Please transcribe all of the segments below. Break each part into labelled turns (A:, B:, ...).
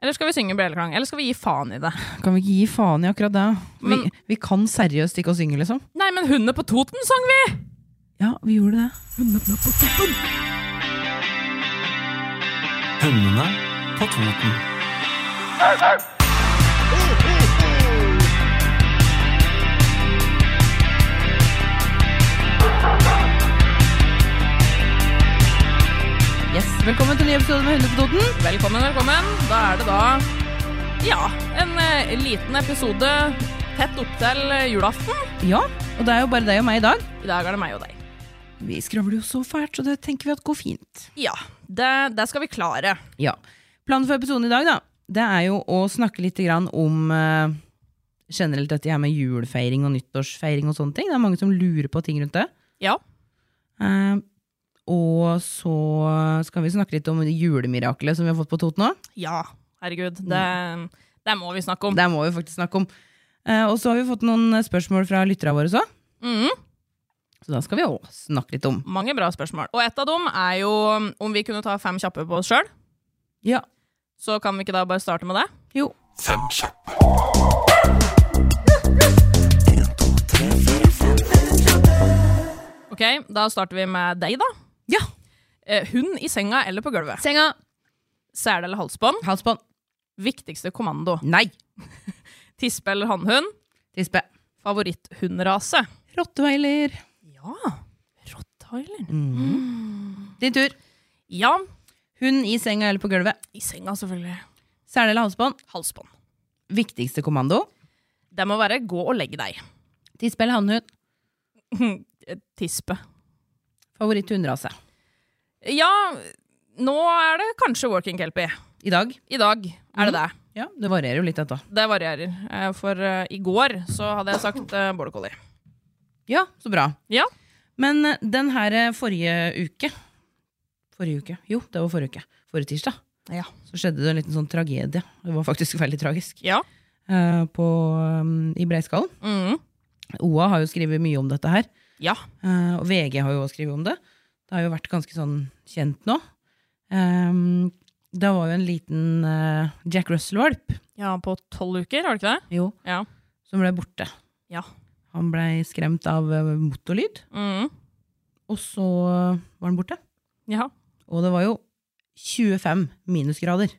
A: Eller skal vi synge Breleklang? Eller skal vi gi faen i det?
B: Kan vi ikke gi faen i akkurat det? Vi,
A: Men-
B: vi kan seriøst ikke å synge, liksom.
A: Nei, men Hundene på Toten sang vi!
B: Ja, vi gjorde det.
C: Hundene på Toten.
B: Yes. Velkommen til en ny episode med Hundene på Toten.
A: Velkommen, velkommen. Da er det da ja, en eh, liten episode tett opp til eh, julaften.
B: Ja, og det er jo bare deg og meg i dag.
A: I dag er det meg og deg.
B: Vi skravler jo så fælt, så det tenker vi at går fint.
A: Ja, det, det skal vi klare.
B: Ja. Planen for episoden i dag, da, det er jo å snakke litt grann om eh, generelt dette her med julefeiring og nyttårsfeiring og sånne ting. Det er mange som lurer på ting rundt det.
A: Ja.
B: Eh, og så skal vi snakke litt om julemiraklet som vi har fått på Toten nå.
A: Ja, herregud. Det, det må vi snakke om.
B: Det må vi faktisk snakke om. Eh, og så har vi fått noen spørsmål fra lytterne våre også. Mm.
A: Mhm.
B: Så da skal vi òg snakke litt om.
A: Mange bra spørsmål. Og et av dem er jo om vi kunne ta fem kjappe på oss sjøl.
B: Ja.
A: Så kan vi ikke da bare starte med det?
B: Jo.
A: Ok, Da starter vi med deg, da.
B: Ja.
A: Eh, Hund i senga eller på gulvet.
B: Senga.
A: Sele eller halsbånd.
B: Halsbånd.
A: Viktigste kommando.
B: Nei.
A: Tispe eller hannhund.
B: Tispe.
A: Favoritthundrase.
B: Rottweiler.
A: Ja. Rottweiler.
B: Din tur.
A: Ja.
B: Hund i senga eller på gulvet.
A: I senga, selvfølgelig.
B: Sele eller halsbånd.
A: Halsbånd.
B: Viktigste kommando.
A: Det må være gå og legge deg.
B: Tispe eller hannhund.
A: Eh, Tispe.
B: Favoritthundrase.
A: Ja, nå er det kanskje working kelpie.
B: I dag.
A: I dag er det
B: Mm.
A: det.
B: Ja, det varierer jo litt, dette.
A: Det varierer. Eh, For eh, i går så hadde jeg sagt eh, border collie.
B: Ja, så bra.
A: Ja.
B: Men eh, den her eh, forrige uke Forrige uke? Jo, det var forrige uke. Forrige tirsdag.
A: Ja.
B: Så skjedde det en liten sånn tragedie. Det var faktisk veldig tragisk.
A: Ja.
B: Eh, på, um, I Breiskallen.
A: Mhm.
B: OA har jo skrevet mye om dette her.
A: ja.
B: Eh, og VG har jo også skrevet om det. Det har jo vært ganske sånn kjent nå. Um, det var jo en liten eh, Jack Russell-valp
A: Ja, på tolv uker, var det ikke det?
B: Jo.
A: Ja.
B: som ble borte.
A: Ja.
B: Han ble skremt av eh, motorlyd,
A: Mhm.
B: og så var han borte.
A: ja.
B: Og det var jo 25 minusgrader.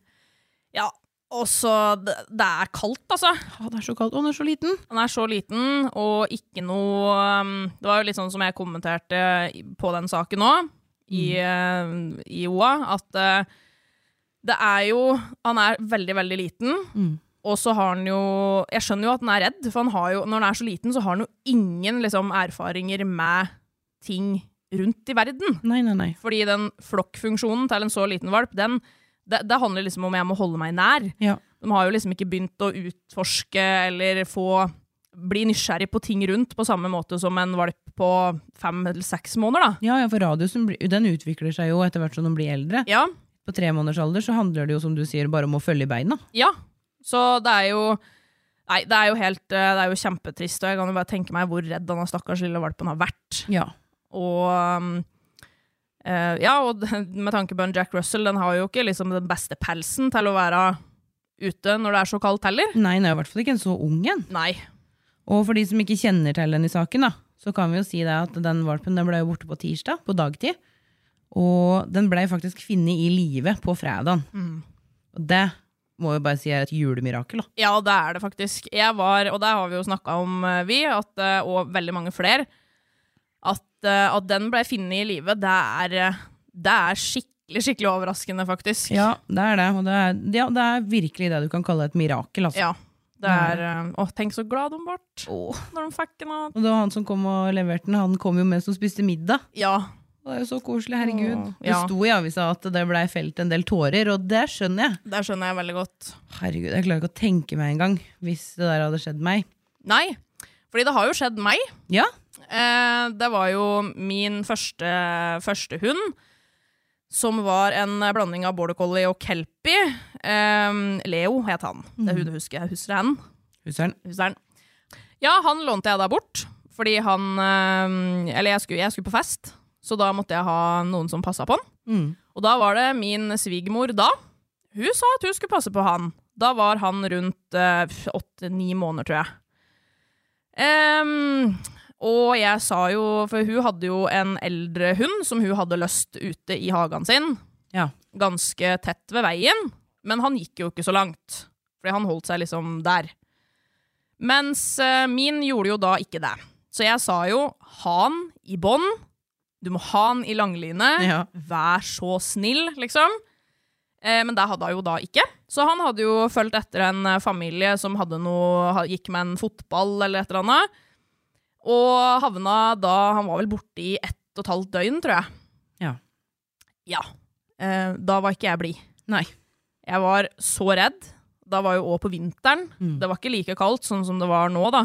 A: Ja, og så det, det er kaldt, altså.
B: Ja, det er så kaldt. Og han er så liten.
A: Han er så liten, og ikke noe um, Det var jo litt sånn som jeg kommenterte i- på den saken nå, i, eh, i OA, at eh, det er jo Han er veldig, veldig liten.
B: Mm.
A: Og så har han jo Jeg skjønner jo at han er redd, for han har jo, når han er så liten, så har han jo ingen liksom, erfaringer med ting rundt i verden.
B: Nei, nei, nei.
A: Fordi den flokkfunksjonen til en så liten valp, den, det, det handler liksom om jeg må holde meg nær.
B: Ja.
A: De har jo liksom ikke begynt å utforske eller få bli nysgjerrig på ting rundt på samme måte som en valp på fem eller seks måneder, da.
B: Ja, ja, for radiusen blir- den utvikler seg jo etter hvert som den blir eldre.
A: Ja,
B: På tre måneders alder så handler det jo, som du sier, bare om å følge i beina.
A: ja. Så det er jo Nei, det er jo helt eh, Det er jo kjempetrist, og jeg kan jo bare tenke meg hvor redd denne stakkars lille valpen har vært.
B: Ja.
A: Og um, eh, Ja, og med tanke på en Jack Russell, den har jo ikke liksom den beste pelsen til å være ute når det er så kaldt heller.
B: Nei, den er jo i hvert fall ikke en så ung en.
A: Nei.
B: Og for de som ikke kjenner til den i saken, da, så kan vi jo si det at den valpen den ble jo borte på tirsdag, på dagtid. Og den ble faktisk funnet i live på fredagen. Og det må jo bare si er et julemirakel, da.
A: Ja, det er det faktisk. Jeg var, og det har vi jo snakka om, eh, vi, at, eh, og veldig mange flere, at, eh, at den ble funnet i live, det er, eh, det er skikkelig, skikkelig overraskende, faktisk.
B: Ja, det er det. Og det er, ja, det er virkelig det du kan kalle et mirakel, altså.
A: Ja, det er eh, Å, tenk så glad de ble når de fikk den. og-
B: Og det var han som kom og leverte den, han kom jo med som spiste middag.
A: Ja.
B: Og Det er jo så koselig, herregud. Det
A: Ja.
B: sto i avisa at det blei felt en del tårer, og det skjønner jeg.
A: Det skjønner jeg veldig godt.
B: Herregud, jeg klarer ikke å tenke meg engang hvis det der hadde skjedd meg.
A: Nei, fordi det har jo skjedd meg.
B: Ja,
A: Eh, det var jo min første, første hund, som var en blanding av border collie og kelpie. Eh, Leo het han. Det er hun du husker. Jeg husker han.
B: huseren.
A: Huseren. Ja, han lånte jeg da bort, fordi han eh, Eller jeg skulle, jeg skulle på fest, så da måtte jeg ha noen som passa på han.
B: Mm.
A: Og da var det min svigermor da. Hun sa at hun skulle passe på han. Da var han rundt eh, åtte-ni måneder, tror jeg. Ehm, og jeg sa jo For hun hadde jo en eldre hund som hun hadde løst ute i hagen sin.
B: Ja.
A: Ganske tett ved veien. Men han gikk jo ikke så langt. Fordi han holdt seg liksom der. Mens eh, min gjorde jo da ikke det. Så jeg sa jo 'ha han i bånd'. Du må ha han i langline.
B: Ja.
A: Vær så snill, liksom. Eh, men det hadde han jo da ikke. Så han hadde jo fulgt etter en eh, familie som hadde noe, ha- gikk med en fotball eller et eller annet. Og havna da Han var vel borte i ett og et halvt døgn, tror jeg.
B: Ja.
A: Ja. Eh, da var ikke jeg blid.
B: Nei.
A: Jeg var så redd. Da var jo òg på vinteren. Det var ikke like kaldt sånn som det var nå, da.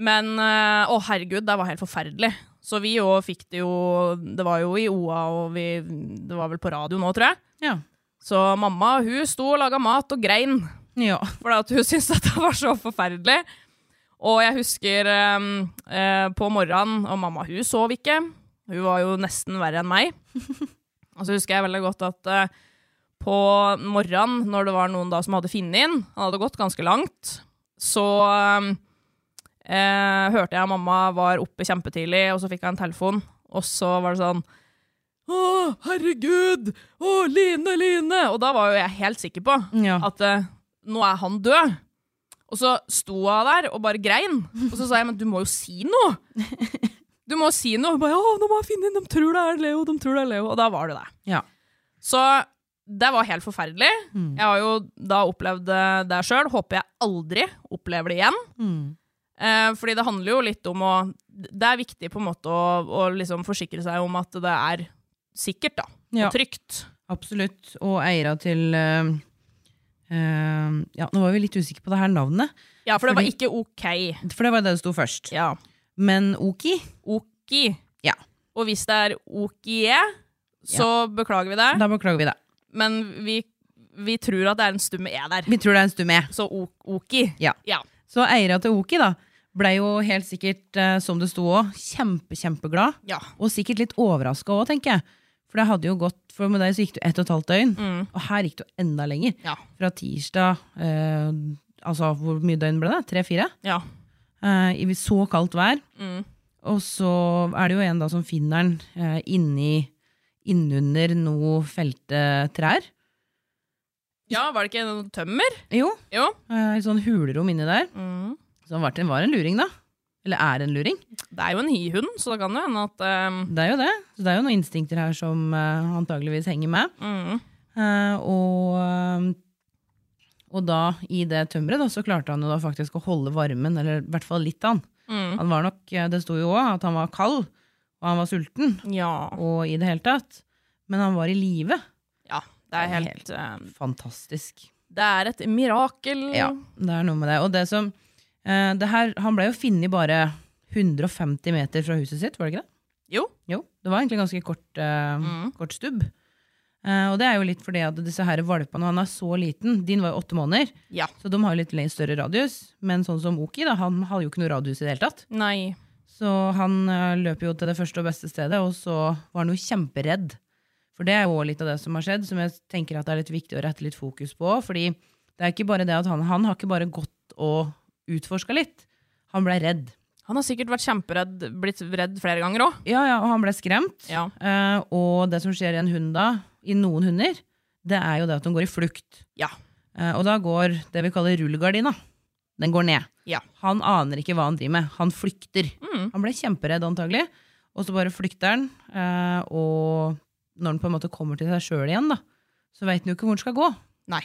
A: Men eh, å herregud, det var helt forferdelig. Så vi òg fikk det jo Det var jo i OA, og vi, det var vel på radio nå, tror jeg.
B: Ja.
A: Så mamma hun sto og laga mat og grein,
B: Ja.
A: for at hun syntes at det var så forferdelig. Og jeg husker eh, eh, på morgenen, og mamma hun sov ikke. Hun var jo nesten verre enn meg. Og så husker jeg veldig godt at eh, på morgenen, når det var noen da som hadde funnet inn, han hadde gått ganske langt, så eh, eh, hørte jeg at mamma var oppe kjempetidlig, og så fikk jeg en telefon, og så var det sånn Å, herregud! Å, Line, Line! Og da var jo jeg helt sikker på
B: Ja.
A: at eh, nå er han død. Og så sto hun der og bare grein. Og så sa jeg, men du må jo si noe! Du må si noe! Og Bare, å, nå må jeg finne inn, de tror det er Leo, de tror det er Leo. Og da var det det.
B: Ja.
A: Så det var helt forferdelig.
B: Mm.
A: Jeg har jo da opplevd eh, det sjøl. Håper jeg aldri opplever det igjen.
B: Mm.
A: Eh, fordi det handler jo litt om å Det er viktig på en måte å, å liksom forsikre seg om at det er sikkert da, og
B: Ja.
A: trygt.
B: Absolutt. Og eiera til eh, eh, Ja, nå var vi litt usikre på det her navnet,
A: Ja, for det var
B: Fordi-
A: ikke OK.
B: for det var det det sto først.
A: Ja.
B: Men Oki
A: Oki.
B: Ja.
A: Og hvis det er okie, så beklager vi det.
B: Da beklager vi det.
A: Men vi, vi tror at det er en stum e der.
B: Vi tror det er en stum E.
A: Så o oki.
B: Ja.
A: Ja.
B: Så eiera til Oki da blei jo helt sikkert, eh, som det sto òg, kjempe, kjempeglad.
A: ja.
B: Og sikkert litt overraska òg, tenker jeg. For det hadde jo gått, for med deg så gikk det jo ett og et halvt døgn. Og her gikk det jo enda lenger.
A: Ja.
B: Fra tirsdag eh, Altså, hvor mye døgn ble det? Tre-fire?
A: ja.
B: eh, i så kaldt vær. Og så er det jo en da som finner den eh, inni Innunder noe felte trær.
A: Ja, var det ikke noe tømmer?
B: Jo.
A: Jo.
B: Eh, et sånn hulrom inni der.
A: Mm.
B: Så han var, til- var en luring, da. Eller er en luring.
A: Det er jo en hihund, så det kan jo hende at ehm,
B: Det er jo det. Så det er jo noen instinkter her som eh, antageligvis henger med.
A: mm,
B: Eh, og, eh, og da, i det tømmeret, da, så klarte han jo da faktisk å holde varmen, eller i hvert fall litt av han.
A: mm,
B: Han var nok, eh, det sto jo òg at han var kald, og han var sulten,
A: Ja.
B: og i det hele tatt. Men han var i live.
A: Ja, det er helt ehm,
B: Fantastisk.
A: Det er et mirakel.
B: Ja, det er noe med det. Og det som eh, det her, Han ble jo funnet bare 150 meter fra huset sitt, var det ikke det?
A: Jo.
B: Jo, Det var egentlig ganske kort, eh,
A: Mm.
B: kort stubb. Eh, og det er jo litt fordi at disse her valpene Han er så liten. Din var jo åtte måneder,
A: Ja.
B: så de har jo litt le- større radius. Men sånn som Oki, da, han har jo ikke noe radius i det hele tatt.
A: Nei.
B: Så han eh, løp jo til det første og beste stedet, og så var han jo kjemperedd. For det er jo også litt av det som har skjedd, som jeg tenker at det er litt viktig å rette litt fokus på. Fordi det er ikke bare det at han, han har ikke bare gått og utforska litt. Han blei redd.
A: Han har sikkert vært kjemperedd, blitt redd flere ganger òg.
B: Ja, ja, og han blei skremt.
A: Ja.
B: Eh, og det som skjer i en hund da, i noen hunder, det er jo det at de går i flukt.
A: Ja.
B: Eh, og da går det vi kaller rullegardina. Den går ned.
A: Ja.
B: Han aner ikke hva han driver med. Han flykter. Han ble kjemperedd antagelig, og så bare flykter han. eh, og når han på en måte kommer til seg sjøl igjen, da, så veit han jo ikke hvor han skal gå.
A: Nei.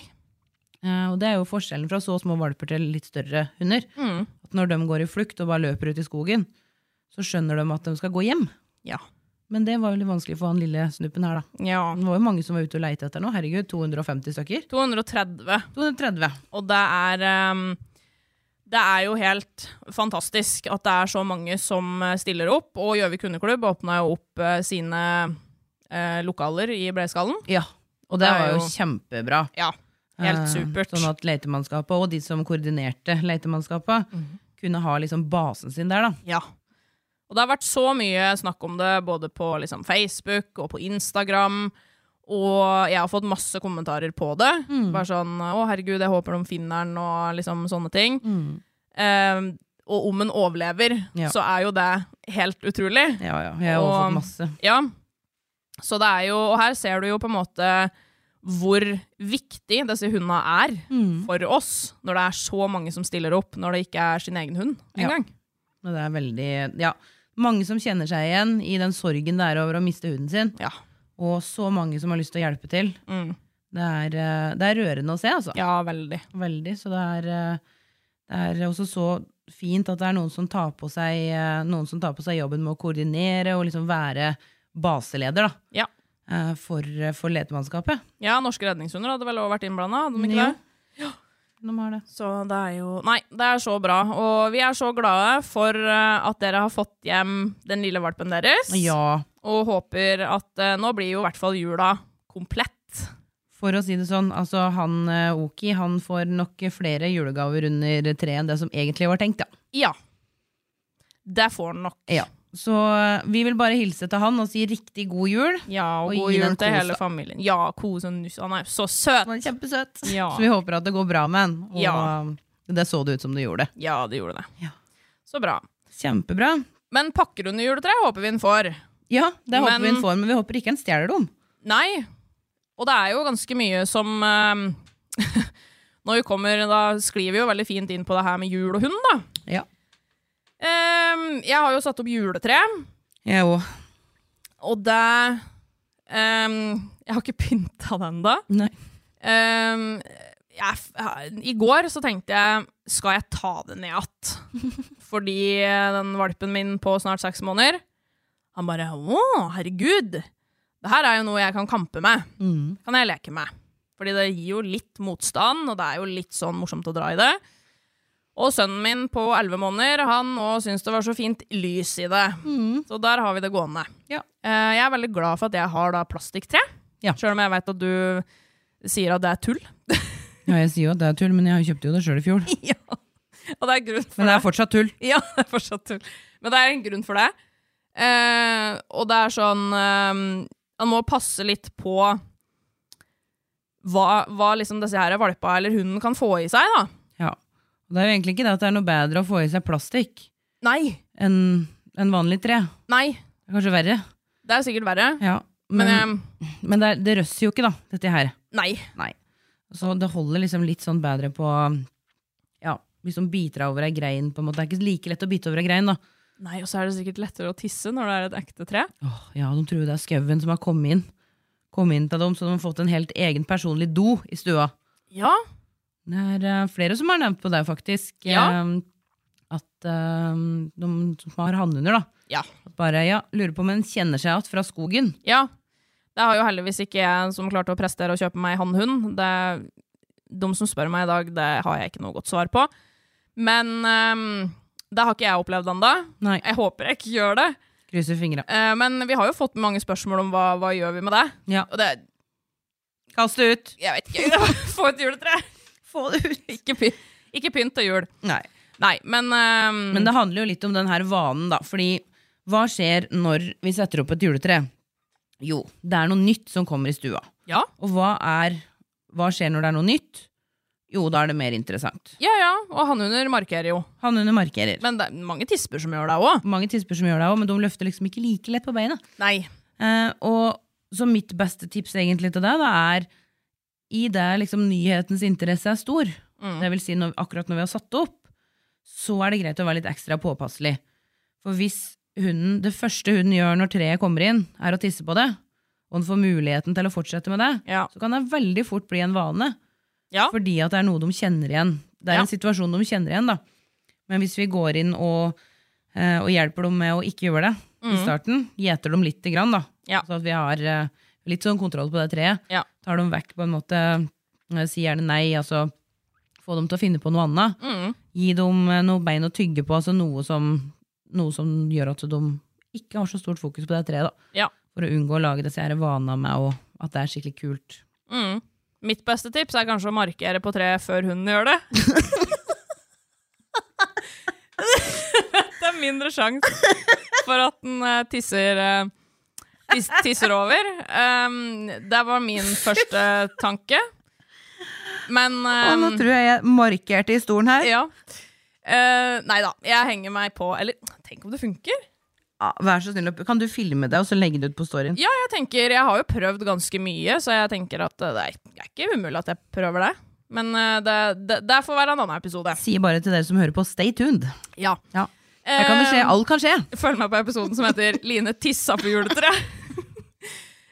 B: Eh, og det er jo forskjellen fra så små valper til litt større hunder.
A: Mm.
B: At når de går i flukt og bare løper ut i skogen, så skjønner de at de skal gå hjem.
A: Ja.
B: Men det var jo litt vanskelig for han lille snuppen her, da.
A: Ja.
B: Det var jo mange som var ute og leite etter nå. Herregud, 250 stykker.
A: 230.
B: 230.
A: Og det er ehm, Det er jo helt fantastisk at det er så mange som eh, stiller opp. Og Gjøvik hundeklubb åpna jo opp eh, sine eh, lokaler i Bleiskallen.
B: Ja. Og
A: Det
B: det
A: er
B: var jo
A: jo-
B: kjempebra.
A: Ja. Helt
B: Eh,
A: supert.
B: Sånn at letemannskapet og de som koordinerte letemannskapet,
A: Mm.
B: kunne ha liksom basen sin der, da.
A: Ja. Og det har vært så mye snakk om det, både på liksom, Facebook og på Instagram. Og jeg har fått masse kommentarer på det. Bare sånn 'Å, herregud, jeg håper de finner den', og liksom sånne ting. Eh, og om en overlever,
B: Ja.
A: så er jo det helt utrolig.
B: Ja, ja. Jeg har også
A: Og-
B: fått masse.
A: Ja. Så det er jo Og her ser du jo på en måte hvor viktig disse hundene er for oss, når det er så mange som stiller opp når det ikke er sin egen hund
B: Ja.
A: engang.
B: Og det er veldig Ja. Mange som kjenner seg igjen i den sorgen det er over å miste huden sin.
A: Ja.
B: Og så mange som har lyst til å hjelpe til.
A: Mm.
B: Det er, eh, det er rørende å se, altså.
A: ja, veldig.
B: Veldig. Så det er, eh, det er også så fint at det er noen som tar på seg, eh, noen som tar på seg jobben med å koordinere og liksom være baseleder, da.
A: Ja.
B: eh, For, eh, for letemannskapet.
A: Ja, Norske redningshunder hadde vel også vært innblanda?
B: Jo.
A: Ja.
B: De har det.
A: Så det er jo Nei, det er så bra. Og vi er så glade for eh, at dere har fått hjem den lille valpen deres.
B: Ja.
A: Og håper at eh, Nå blir jo i hvert fall jula komplett.
B: For å si det sånn, altså han eh, Oki han får nok flere julegaver under treet enn det som egentlig var tenkt, ja.
A: Ja. Det får den nok.
B: ja. Så eh, vi vil bare hilse til han og si riktig god jul.
A: Ja, og,
B: Og
A: god
B: gi
A: jul
B: den
A: til
B: kos,
A: hele
B: da.
A: familien. Ja, kos og nuss. Han er så søt!
B: Han er kjempesøt.
A: Ja.
B: Så vi håper at det går bra med han. Og eh,
A: Ja.
B: det så det ut som det gjorde.
A: Ja, det gjorde det.
B: Ja.
A: Så bra.
B: Kjempebra.
A: Men pakker under juletreet håper vi den får.
B: Ja, det håper vi
A: Men-
B: han får, men vi håper ikke han stjeler dem.
A: Nei. Og det er jo ganske mye som eh, Når vi kommer, da sklir vi jo veldig fint inn på det her med jul og hund, da.
B: Ja.
A: Em, jeg har jo satt opp juletre,
B: Jeg òg.
A: og det em, Jeg har ikke pynta det ennå.
B: Nei.
A: Ehm, jeg, f- I går så tenkte jeg Skal jeg ta det ned igjen? Fordi eh, den valpen min på snart seks måneder Han bare Å, herregud! Det her er jo noe jeg kan kampe med.
B: Mm.
A: Kan jeg leke med. Fordi det gir jo litt motstand, og det er jo litt sånn morsomt å dra i det. Og sønnen min på elleve måneder Han nå syns det var så fint lys i det. Så der har vi det gående.
B: Mm. Ja.
A: Eh, jeg er veldig glad for at jeg har da plastikktre.
B: Ja.
A: Sjøl om jeg veit at du sier at det er tull.
B: Ja, jeg sier jo at det er tull, men jeg kjøpte jo det sjøl i fjor.
A: ja. Og det er grunn for
B: Men det
A: det.
B: er fortsatt tull.
A: Ja, det er fortsatt tull. Men det er en grunn for det. Eh, og det er sånn eh, Man må passe litt på hva, hva liksom disse her valpa eller hunden kan få i seg, da.
B: Ja. Og det er jo egentlig ikke det at det er noe bedre å få i seg plastikk
A: Nei.
B: enn enn vanlig tre. Det
A: Nei.
B: er kanskje verre.
A: Det er sikkert verre.
B: Ja. Men,
A: Men
B: men,
A: eh,
B: det, er, det røsser jo ikke, da, dette her.
A: nei.
B: Så det holder liksom litt sånn bedre på Ja, liksom biter av over ei grein, på en måte. Det er ikke like lett å bite over ei grein, da.
A: Nei, Og så er det sikkert lettere å tisse når det er et ekte tre.
B: Åh, ja, de tror jo det er skauen som har kommet inn. Kommet inn til dem, så de har fått en helt egen personlig do i stua.
A: Ja.
B: Det er eh, flere som har nevnt på det, faktisk.
A: Ja.
B: Eh, at eh, de som har hannhunder, da.
A: Ja.
B: At bare ja, lurer på om en kjenner seg igjen fra skogen.
A: Ja. Det har jo heldigvis ikke jeg som klarte å prestere å kjøpe meg hannhund. Det- De som spør meg i dag, det har jeg ikke noe godt svar på. Men ehm, det har ikke jeg opplevd ennå.
B: Nei,
A: Jeg håper jeg ikke gjør det.
B: krysser fingra.
A: Eh, men vi har jo fått mange spørsmål om hva, hva gjør vi med det.
B: Ja.
A: Og det
B: Kast det ut!
A: Jeg vet ikke. Få et juletre!
B: Få det ut!
A: Ikke, py ikke pynt til jul.
B: Nei.
A: Nei, men, ehm,
B: Men det handler jo litt om den her vanen, da. Fordi hva skjer når vi setter opp et juletre? Jo, det er noe nytt som kommer i stua.
A: Ja.
B: Og hva, er, hva skjer når det er noe nytt? Jo, da er det mer interessant.
A: Ja ja, og hannhunder markerer jo.
B: Hannhunder markerer.
A: Men det er mange tisper som gjør det òg.
B: Mange tisper som gjør det òg, men de løfter liksom ikke like lett på beina.
A: Nei.
B: Eh, og så mitt beste tips egentlig til deg da er i det liksom nyhetens interesse er stor, det vil si når, akkurat når vi har satt det opp, så er det greit å være litt ekstra påpasselig. For hvis hunden, det første hunden gjør når treet kommer inn, er å tisse på det, og den får muligheten til å fortsette med det,
A: Ja.
B: så kan det veldig fort bli en vane.
A: Ja.
B: Fordi at det er noe de kjenner igjen. Det er
A: Ja.
B: en situasjon de kjenner igjen, da. Men hvis vi går inn og, eh, og hjelper dem med å ikke gjøre det, i starten. Gjeter dem lite grann, da.
A: Mhm. Ja.
B: Så at vi har eh, litt sånn kontroll på det treet.
A: Ja.
B: Tar dem vekk på en måte, eh, si gjerne nei, altså få dem til å finne på noe annet.
A: Mm.
B: Gi dem eh, noe bein å tygge på, altså noe som, noe som gjør at de ikke har så stort fokus på det treet, da.
A: Ja.
B: For å unngå å lage disse her vanene med og at det er skikkelig kult.
A: Mm. Mitt beste tips er kanskje å markere på treet før hunden gjør det. det er mindre sjanse for at den eh, tisser, eh, tis, tisser over. Um, det var min første tanke. Men
B: Og nå
A: um,
B: tror jeg jeg markerte i stolen her.
A: ja. Eh, nei da, jeg henger meg på Eller tenk om det funker?
B: Ja, Vær så snill, kan du filme det og så legge det ut på storyen?
A: Ja, jeg tenker, jeg har jo prøvd ganske mye, så jeg tenker at eh, det er, det er ikke umulig at jeg prøver det. Men eh, det, det, det får være en annen episode.
B: Si bare til dere som hører på, stay tuned.
A: Ja.
B: Ja. Her kan det skje,
A: Eh,
B: alt kan skje.
A: Følg med på episoden som heter 'Line tissa på juletreet'.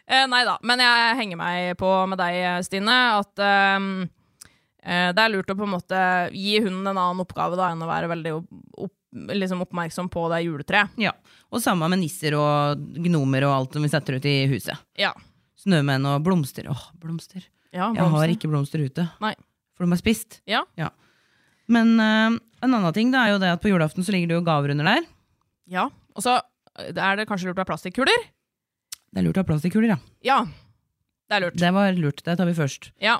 A: Eh, nei da, men jeg henger meg på med deg, Stine, at ehm, eh, det er lurt å på en måte gi hunden en annen oppgave da, enn å være veldig opp, opp, liksom oppmerksom på det juletreet.
B: Ja. Og samme med nisser og gnomer og alt som vi setter ut i huset.
A: Ja.
B: Snømenn og blomster. Åh, blomster.
A: ja
B: Jeg har
A: blomster.
B: ikke blomster ute,
A: Nei.
B: for de er spist.
A: Ja.
B: Men eh, en annen ting det er jo det at på julaften så ligger det jo gaver under der.
A: ja. Og så eh, er det kanskje lurt å ha plastikkuler.
B: Det er lurt å ha plastikkuler, ja.
A: Ja. Det er lurt.
B: Det var lurt, det tar vi først.
A: Ja.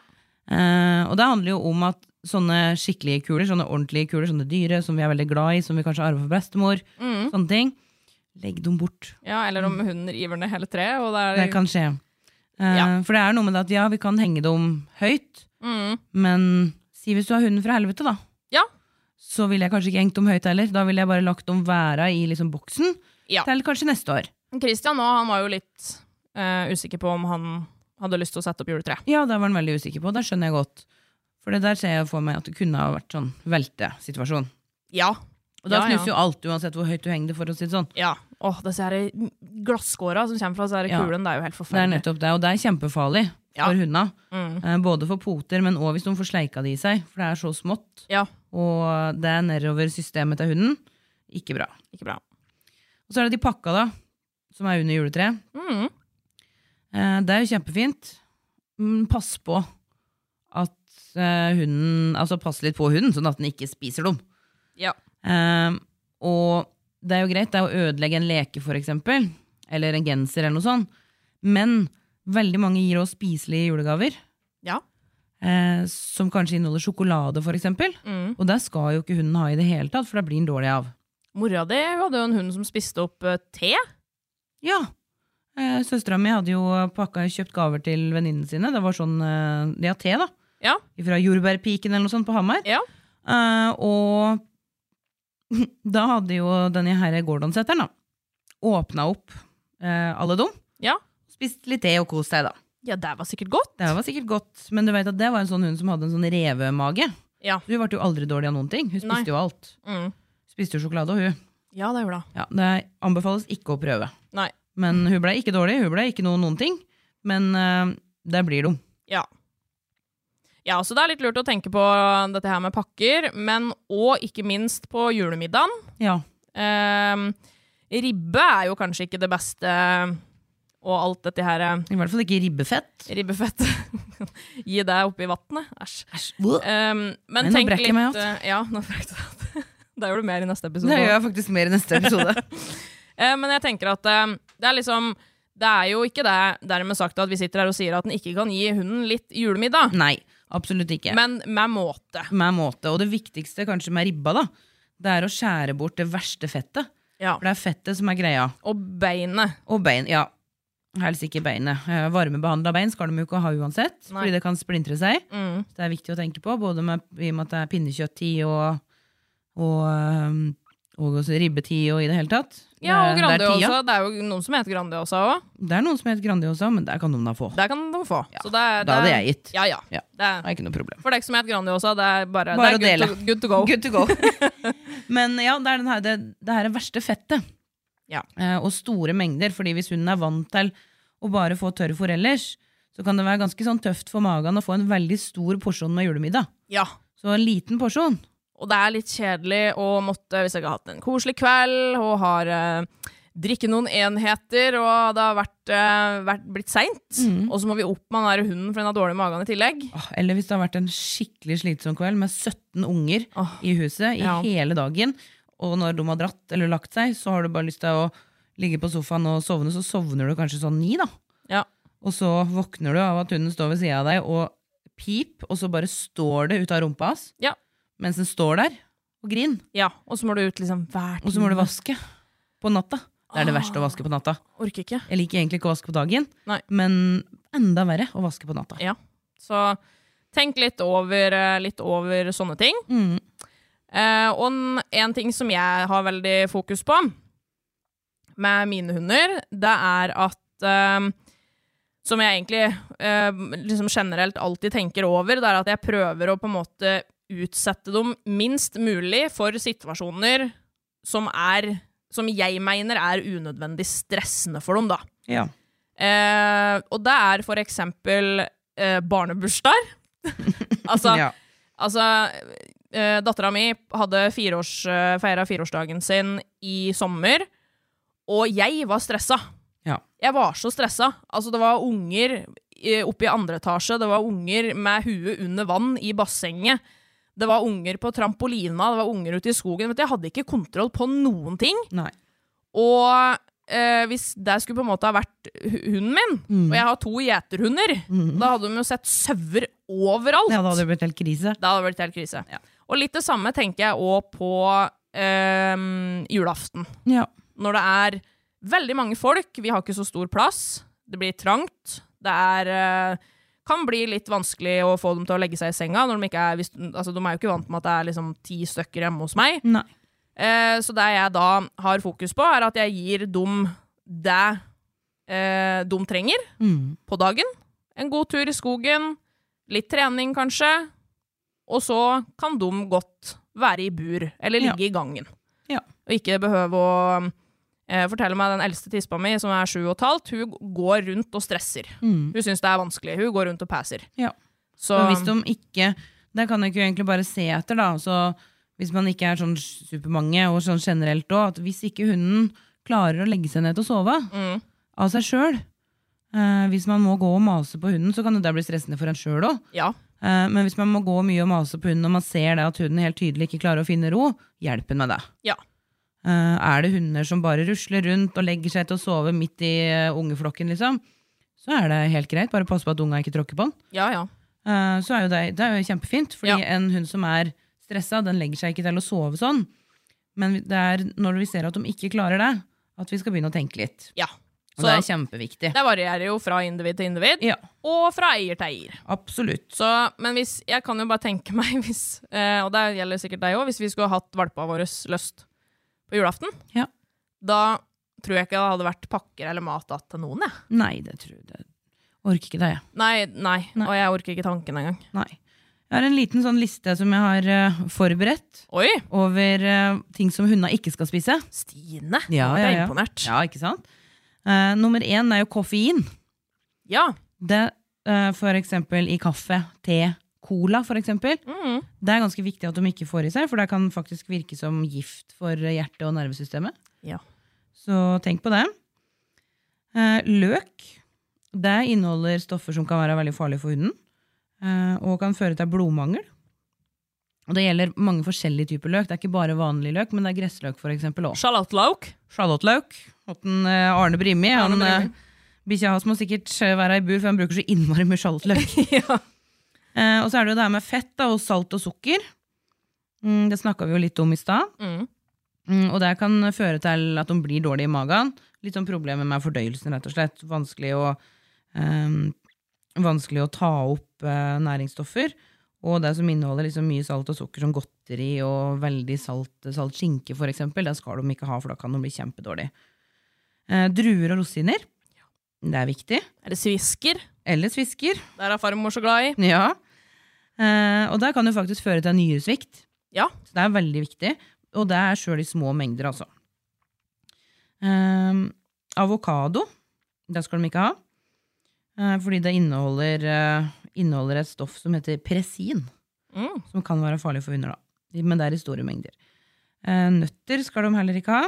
B: Eh, og det handler jo om at sånne skikkelige kuler, sånne ordentlige kuler, sånne dyre, som vi er veldig glad i, som vi kanskje arver fra bestemor,
A: Mm.
B: sånne ting, legg dem bort.
A: ja. Eller om hunden river ned hele treet, og det er
B: Det kan skje. Eh,
A: Ja.
B: For det er noe med det at ja, vi kan henge dem høyt,
A: mm.
B: men si hvis du har hunden fra helvete, da.
A: Ja.
B: Så ville jeg kanskje ikke hengt dem høyt heller. Da ville jeg bare lagt dem væra i liksom boksen
A: Ja.
B: til kanskje neste år.
A: Christian nå, han var jo litt eh, usikker på om han hadde lyst til å sette opp juletre.
B: Ja, det var han veldig usikker på. Det skjønner jeg godt. For det der ser jeg for meg at det kunne ha vært sånn veltesituasjon.
A: Ja.
B: Og da
A: Ja, ja.
B: knuser jo alt, uansett hvor høyt du henger det, for å si det sånn.
A: Ja. Åh, disse her glasskåra som kommer fra disse her
B: Ja.
A: kulene, det er jo helt
B: Det er
A: forferdelig.
B: nettopp det, og det er kjempefarlig
A: Ja.
B: for hundene.
A: Mm.
B: Eh, Både for poter, men òg hvis de får sleika det i seg, for det er så smått.
A: Ja.
B: Og det er nedover systemet til hunden. Ikke bra.
A: Ikke bra.
B: Og så er det de pakka, da, som er under juletreet.
A: Mm.
B: Eh, Det er jo kjempefint. Mm, Pass på at eh, hunden Altså pass litt på hunden, sånn at den ikke spiser dem.
A: Ja.
B: Eh, og det er jo greit, det er å ødelegge en leke, for eksempel. Eller en genser, eller noe sånt. Men veldig mange gir oss spiselige julegaver.
A: Ja.
B: Eh, som kanskje inneholder sjokolade, for eksempel.
A: Mm.
B: Og det skal jo ikke hunden ha i det hele tatt, for da blir den dårlig av.
A: Mora di hun hadde jo en hund som spiste opp eh, te.
B: Ja. Eh, Søstera mi hadde jo pakka, kjøpt gaver til venninnene sine. Det var sånn eh, De har te, da.
A: Ja.
B: Fra Jordbærpiken eller noe sånt på Hamar.
A: Ja.
B: Eh, og da hadde jo denne her Gordon-setteren da åpna opp eh, alle dem.
A: Ja.
B: Spist litt te og kost seg, da.
A: Ja, det var sikkert godt.
B: Det var sikkert godt, men du vet at det var en sånn hund som hadde en sånn revemage.
A: Ja.
B: Så Hun ble jo aldri dårlig av noen ting. Hun spiste
A: Nei.
B: jo alt.
A: Mm.
B: Spiste jo sjokolade, og hun.
A: Ja, det gjorde det.
B: Ja, det anbefales ikke å prøve.
A: Nei.
B: Men hun ble ikke dårlig, hun ble ikke noe noen ting. Men eh, der blir de.
A: Ja. Ja, så det er litt lurt å tenke på dette her med pakker, men òg ikke minst på julemiddagen.
B: Ja.
A: Ehm, ribbe er jo kanskje ikke det beste, og alt dette her eh,
B: I hvert fall ikke ribbefett.
A: ribbefett. Gi det oppi vannet. Æsj.
B: Det
A: Ehm, men
B: Nei, nå
A: tenk
B: brekk jeg
A: litt
B: meg
A: eh, Ja, nå brekk du deg. Det gjør du mer i neste episode.
B: gjør jeg faktisk mer i neste episode.
A: Eh, men jeg tenker at eh, det er liksom Det er jo ikke det dermed sagt at vi sitter her og sier at den ikke kan gi hunden litt julemiddag,
B: Nei, absolutt ikke.
A: men med måte.
B: Med måte. Og det viktigste kanskje med ribba, da, det er å skjære bort det verste fettet.
A: Ja.
B: For det er fettet som er greia.
A: Og beinet.
B: Og bein. Ja, helst ikke beinet. Eh, Varmebehandla bein skal de jo ikke ha uansett,
A: Nei.
B: fordi det kan splintre seg.
A: Mm.
B: Det er viktig å tenke på, både med, i og med at det er pinnekjøtt-tid og, og, øhm, og også ribbetid og i det hele tatt.
A: Ja, og
B: Det er- det er tida.
A: Grandiosa. Det er jo noen som heter Grandiosa òg.
B: Det er noen som heter Grandiosa, men der kan de da få. Det
A: Der kan de få. Så det, er-
B: Da hadde
A: det er-
B: jeg gitt.
A: Ja, ja.
B: Ja.
A: Det er,
B: er ikke noe problem.
A: for deg som heter Grandiosa, det er bare,
B: Bare
A: det er
B: å
A: good, to, good to go.
B: Good to go. men ja, det er den her, det, det her er verste fettet.
A: Ja.
B: Eh, og store mengder, fordi hvis hunden er vant til å bare få tørre forellers, så kan det være ganske sånn tøft for magen å få en veldig stor porsjon med julemiddag.
A: Ja.
B: Så en liten porsjon.
A: Og det er litt kjedelig å måtte, hvis jeg ikke har hatt en koselig kveld og har eh, drikke noen enheter, og det har vært, eh, vært blitt seint.
B: Mm.
A: Og så må vi opp med den der hunden, for den har dårlig mage i tillegg.
B: Åh, Eller hvis det har vært en skikkelig slitsom kveld med 17 unger
A: Åh,
B: i huset i
A: ja.
B: hele dagen, og når de har dratt eller lagt seg, så har du bare lyst til å ligge på sofaen og sovne, så sovner du kanskje sånn ni, da.
A: Ja.
B: Og så våkner du av at hunden står ved sida av deg og pip, og så bare står det ut av rumpa hans
A: Ja.
B: mens den står der og grin,
A: ja. Og så må du ut liksom hver
B: og så må du
A: time.
B: vaske på natta. Det er det verste å vaske på natta.
A: Orker ikke.
B: Jeg liker egentlig ikke å vaske på dagen,
A: Nei.
B: men enda verre å vaske på natta.
A: Ja. Så tenk litt over, eh, litt over sånne ting.
B: Mm.
A: Eh, og en- en ting som jeg har veldig fokus på med mine hunder, det er at eh, Som jeg egentlig eh, liksom generelt alltid tenker over, det er at jeg prøver å på en måte utsette dem minst mulig for situasjoner som er Som jeg mener er unødvendig stressende for dem, da.
B: Ja.
A: Eh, og det er for eksempel eh, barnebursdager. altså,
B: Ja.
A: Altså, eh, dattera mi hadde fireårs, eh, feira fireårsdagen sin i sommer, og jeg var stressa.
B: Ja.
A: Jeg var så stressa. Altså, det var unger eh, oppe i andre etasje, det var unger med huet under vann i bassenget, det var unger på trampolina, det var unger ute i skogen. Vet du, jeg hadde ikke kontroll på noen ting.
B: Nei.
A: Og eh, hvis det skulle på en måte ha vært hu- hunden min,
B: Mm.
A: og jeg har to gjeterhunder, da hadde de jo sett sauer overalt.
B: Ja, da hadde det blitt helt krise.
A: Da hadde det blitt helt krise.
B: Ja.
A: Og litt det samme tenker jeg òg på ehm, julaften.
B: Ja.
A: Når det er veldig mange folk, vi har ikke så stor plass, det blir trangt, det er eh, kan bli litt vanskelig å få dem til å legge seg i senga. Når de, ikke er, hvis, altså, de er jo ikke vant med at det er liksom ti stykker hjemme hos meg.
B: Nei.
A: Eh, så det jeg da har fokus på, er at jeg gir dem det eh, de trenger
B: Mm.
A: på dagen. En god tur i skogen, litt trening kanskje, og så kan de godt være i bur, eller ligge i gangen.
B: Ja.
A: Og ikke behøve å eh, fortelle meg den eldste tispa mi, som er sju og et halvt, hun går rundt og stresser.
B: Mm.
A: Hun syns det er vanskelig. Hun går rundt og passer.
B: Ja.
A: Så,
B: Og hvis de ikke Det kan jeg ikke egentlig bare se etter, da. Så hvis man ikke er sånn supermange, og sånn generelt òg, at hvis ikke hunden klarer å legge seg ned til å sove
A: Mm.
B: av seg sjøl eh, Hvis man må gå og mase på hunden, så kan jo det bli stressende for en sjøl òg.
A: ja.
B: Eh, men hvis man må gå mye og mase på hunden, og man ser det at hunden helt tydelig ikke klarer å finne ro, hjelp henne med det.
A: Ja.
B: Eh, er det hunder som bare rusler rundt og legger seg til å sove midt i eh, ungeflokken, liksom, så er det helt greit. Bare pass på at unga ikke tråkker på den.
A: Ja, ja.
B: Eh, så er jo det, det er jo kjempefint, fordi
A: Ja.
B: en hund som er stressa, den legger seg ikke til å sove sånn. Men det er når vi ser at de ikke klarer det, at vi skal begynne å tenke litt.
A: ja.
B: Og
A: Så
B: det er kjempeviktig.
A: det varierer jo fra individ til individ,
B: Ja,
A: og fra eier til eier.
B: absolutt.
A: Så, men hvis, jeg kan jo bare tenke meg, hvis, eh, og det gjelder sikkert deg òg, hvis vi skulle hatt valpa vår løst på julaften,
B: Ja.
A: da tror jeg ikke det hadde vært pakker eller mat da til noen. Jeg.
B: Nei, det tror jeg det- Orker ikke det, jeg.
A: Nei, nei,
B: Nei.
A: og jeg orker ikke tanken engang.
B: Nei. Jeg har en liten sånn liste som jeg har eh, forberedt
A: Oi,
B: over eh, ting som hundene ikke skal spise.
A: Stine!
B: Ja,
A: nå ble jeg
B: ja, ja.
A: imponert.
B: Ja, ikke sant? Eh, nummer én er jo koffein.
A: Ja.
B: Det, eh, for eksempel i kaffe, te, cola for eksempel.
A: Mm.
B: Det er ganske viktig at de ikke får i seg, for det kan faktisk virke som gift for hjerte- og nervesystemet.
A: Ja.
B: Så tenk på det. Eh, løk det inneholder stoffer som kan være veldig farlige for hunden, eh, og kan føre til blodmangel. Og Det gjelder mange forskjellige typer løk. Det er ikke bare vanlig løk, men det er gressløk for eksempel også.
A: Sjalottløk.
B: Charlotteløk. Hatten eh, Arne Brimi.
A: Arne
B: Han,
A: Brimi.
B: eh, Bikkja hans må sikkert eh, være i bur, for han bruker så innmari mye sjalottløk.
A: ja.
B: Eh, og så er det jo det her med fett da, og salt og sukker. Mm, det snakka vi jo litt om i stad.
A: Mm.
B: Mm, og det kan føre til at de blir dårlige i magen. Litt sånn problemer med fordøyelsen, rett og slett. Vanskelig å, ehm, vanskelig å ta opp eh, næringsstoffer. Og det som inneholder liksom mye salt og sukker, som godteri og veldig salt, salt skinke, for eksempel, det skal de ikke ha, for da kan de bli kjempedårlige. Eh, druer og rosiner. Det er viktig.
A: Er det svisker?
B: Eller svisker.
A: Der er farmor så glad i.
B: Ja. Eh, og det kan jo faktisk føre til nyresvikt.
A: Ja.
B: Så det er veldig viktig. Og det er sjøl i små mengder, altså. Eh, avokado. Det skal de ikke ha. Eh, fordi det inneholder, eh, inneholder et stoff som heter presin.
A: Mm.
B: Som kan være farlig for hunder, da. Men det er i store mengder. Eh, nøtter skal de heller ikke ha.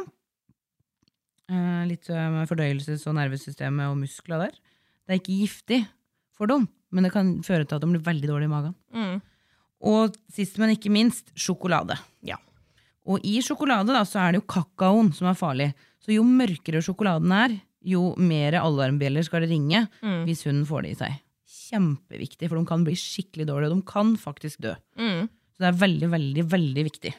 B: Eh, litt eh, med fordøyelses- og nervesystemet og muskler der. Det er ikke giftig for dem, men det kan føre til at de blir veldig dårlige i magen.
A: Mm.
B: Og sist, men ikke minst, sjokolade.
A: Ja.
B: Og i sjokolade da, så er det jo kakaoen som er farlig. Så jo mørkere sjokoladen er, jo mer alarmbjeller skal det ringe
A: Mm.
B: hvis hunden får det i seg. Kjempeviktig, for de kan bli skikkelig dårlige, og de kan faktisk dø.
A: Mm.
B: Så det er veldig, veldig, veldig viktig.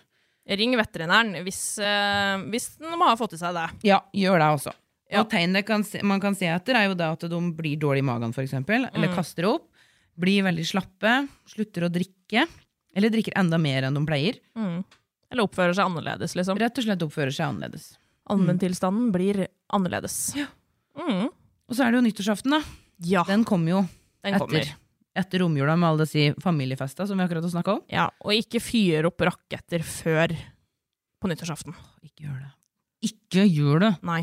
A: Ring veterinæren hvis, eh, hvis de har fått i seg det.
B: Ja, gjør det også.
A: Ja.
B: Og tegn det kan se, man kan se etter, er jo da at de blir dårlige i magen, f.eks. eksempel Eller kaster opp. Blir veldig slappe. Slutter å drikke. Eller drikker enda mer enn de pleier.
A: Eller oppfører seg annerledes, liksom.
B: Rett og slett oppfører seg annerledes.
A: Allmenntilstanden blir annerledes. Ja. Mm.
B: Og så er det jo nyttårsaften, da.
A: ja den,
B: Den kommer jo
A: kommer.
B: etter, etter romjula med alle disse familiefesta som vi akkurat har snakka om.
A: Ja, og ikke fyre opp raketter før på nyttårsaften.
B: Ikke gjør det. Ikke gjør det!
A: Nei.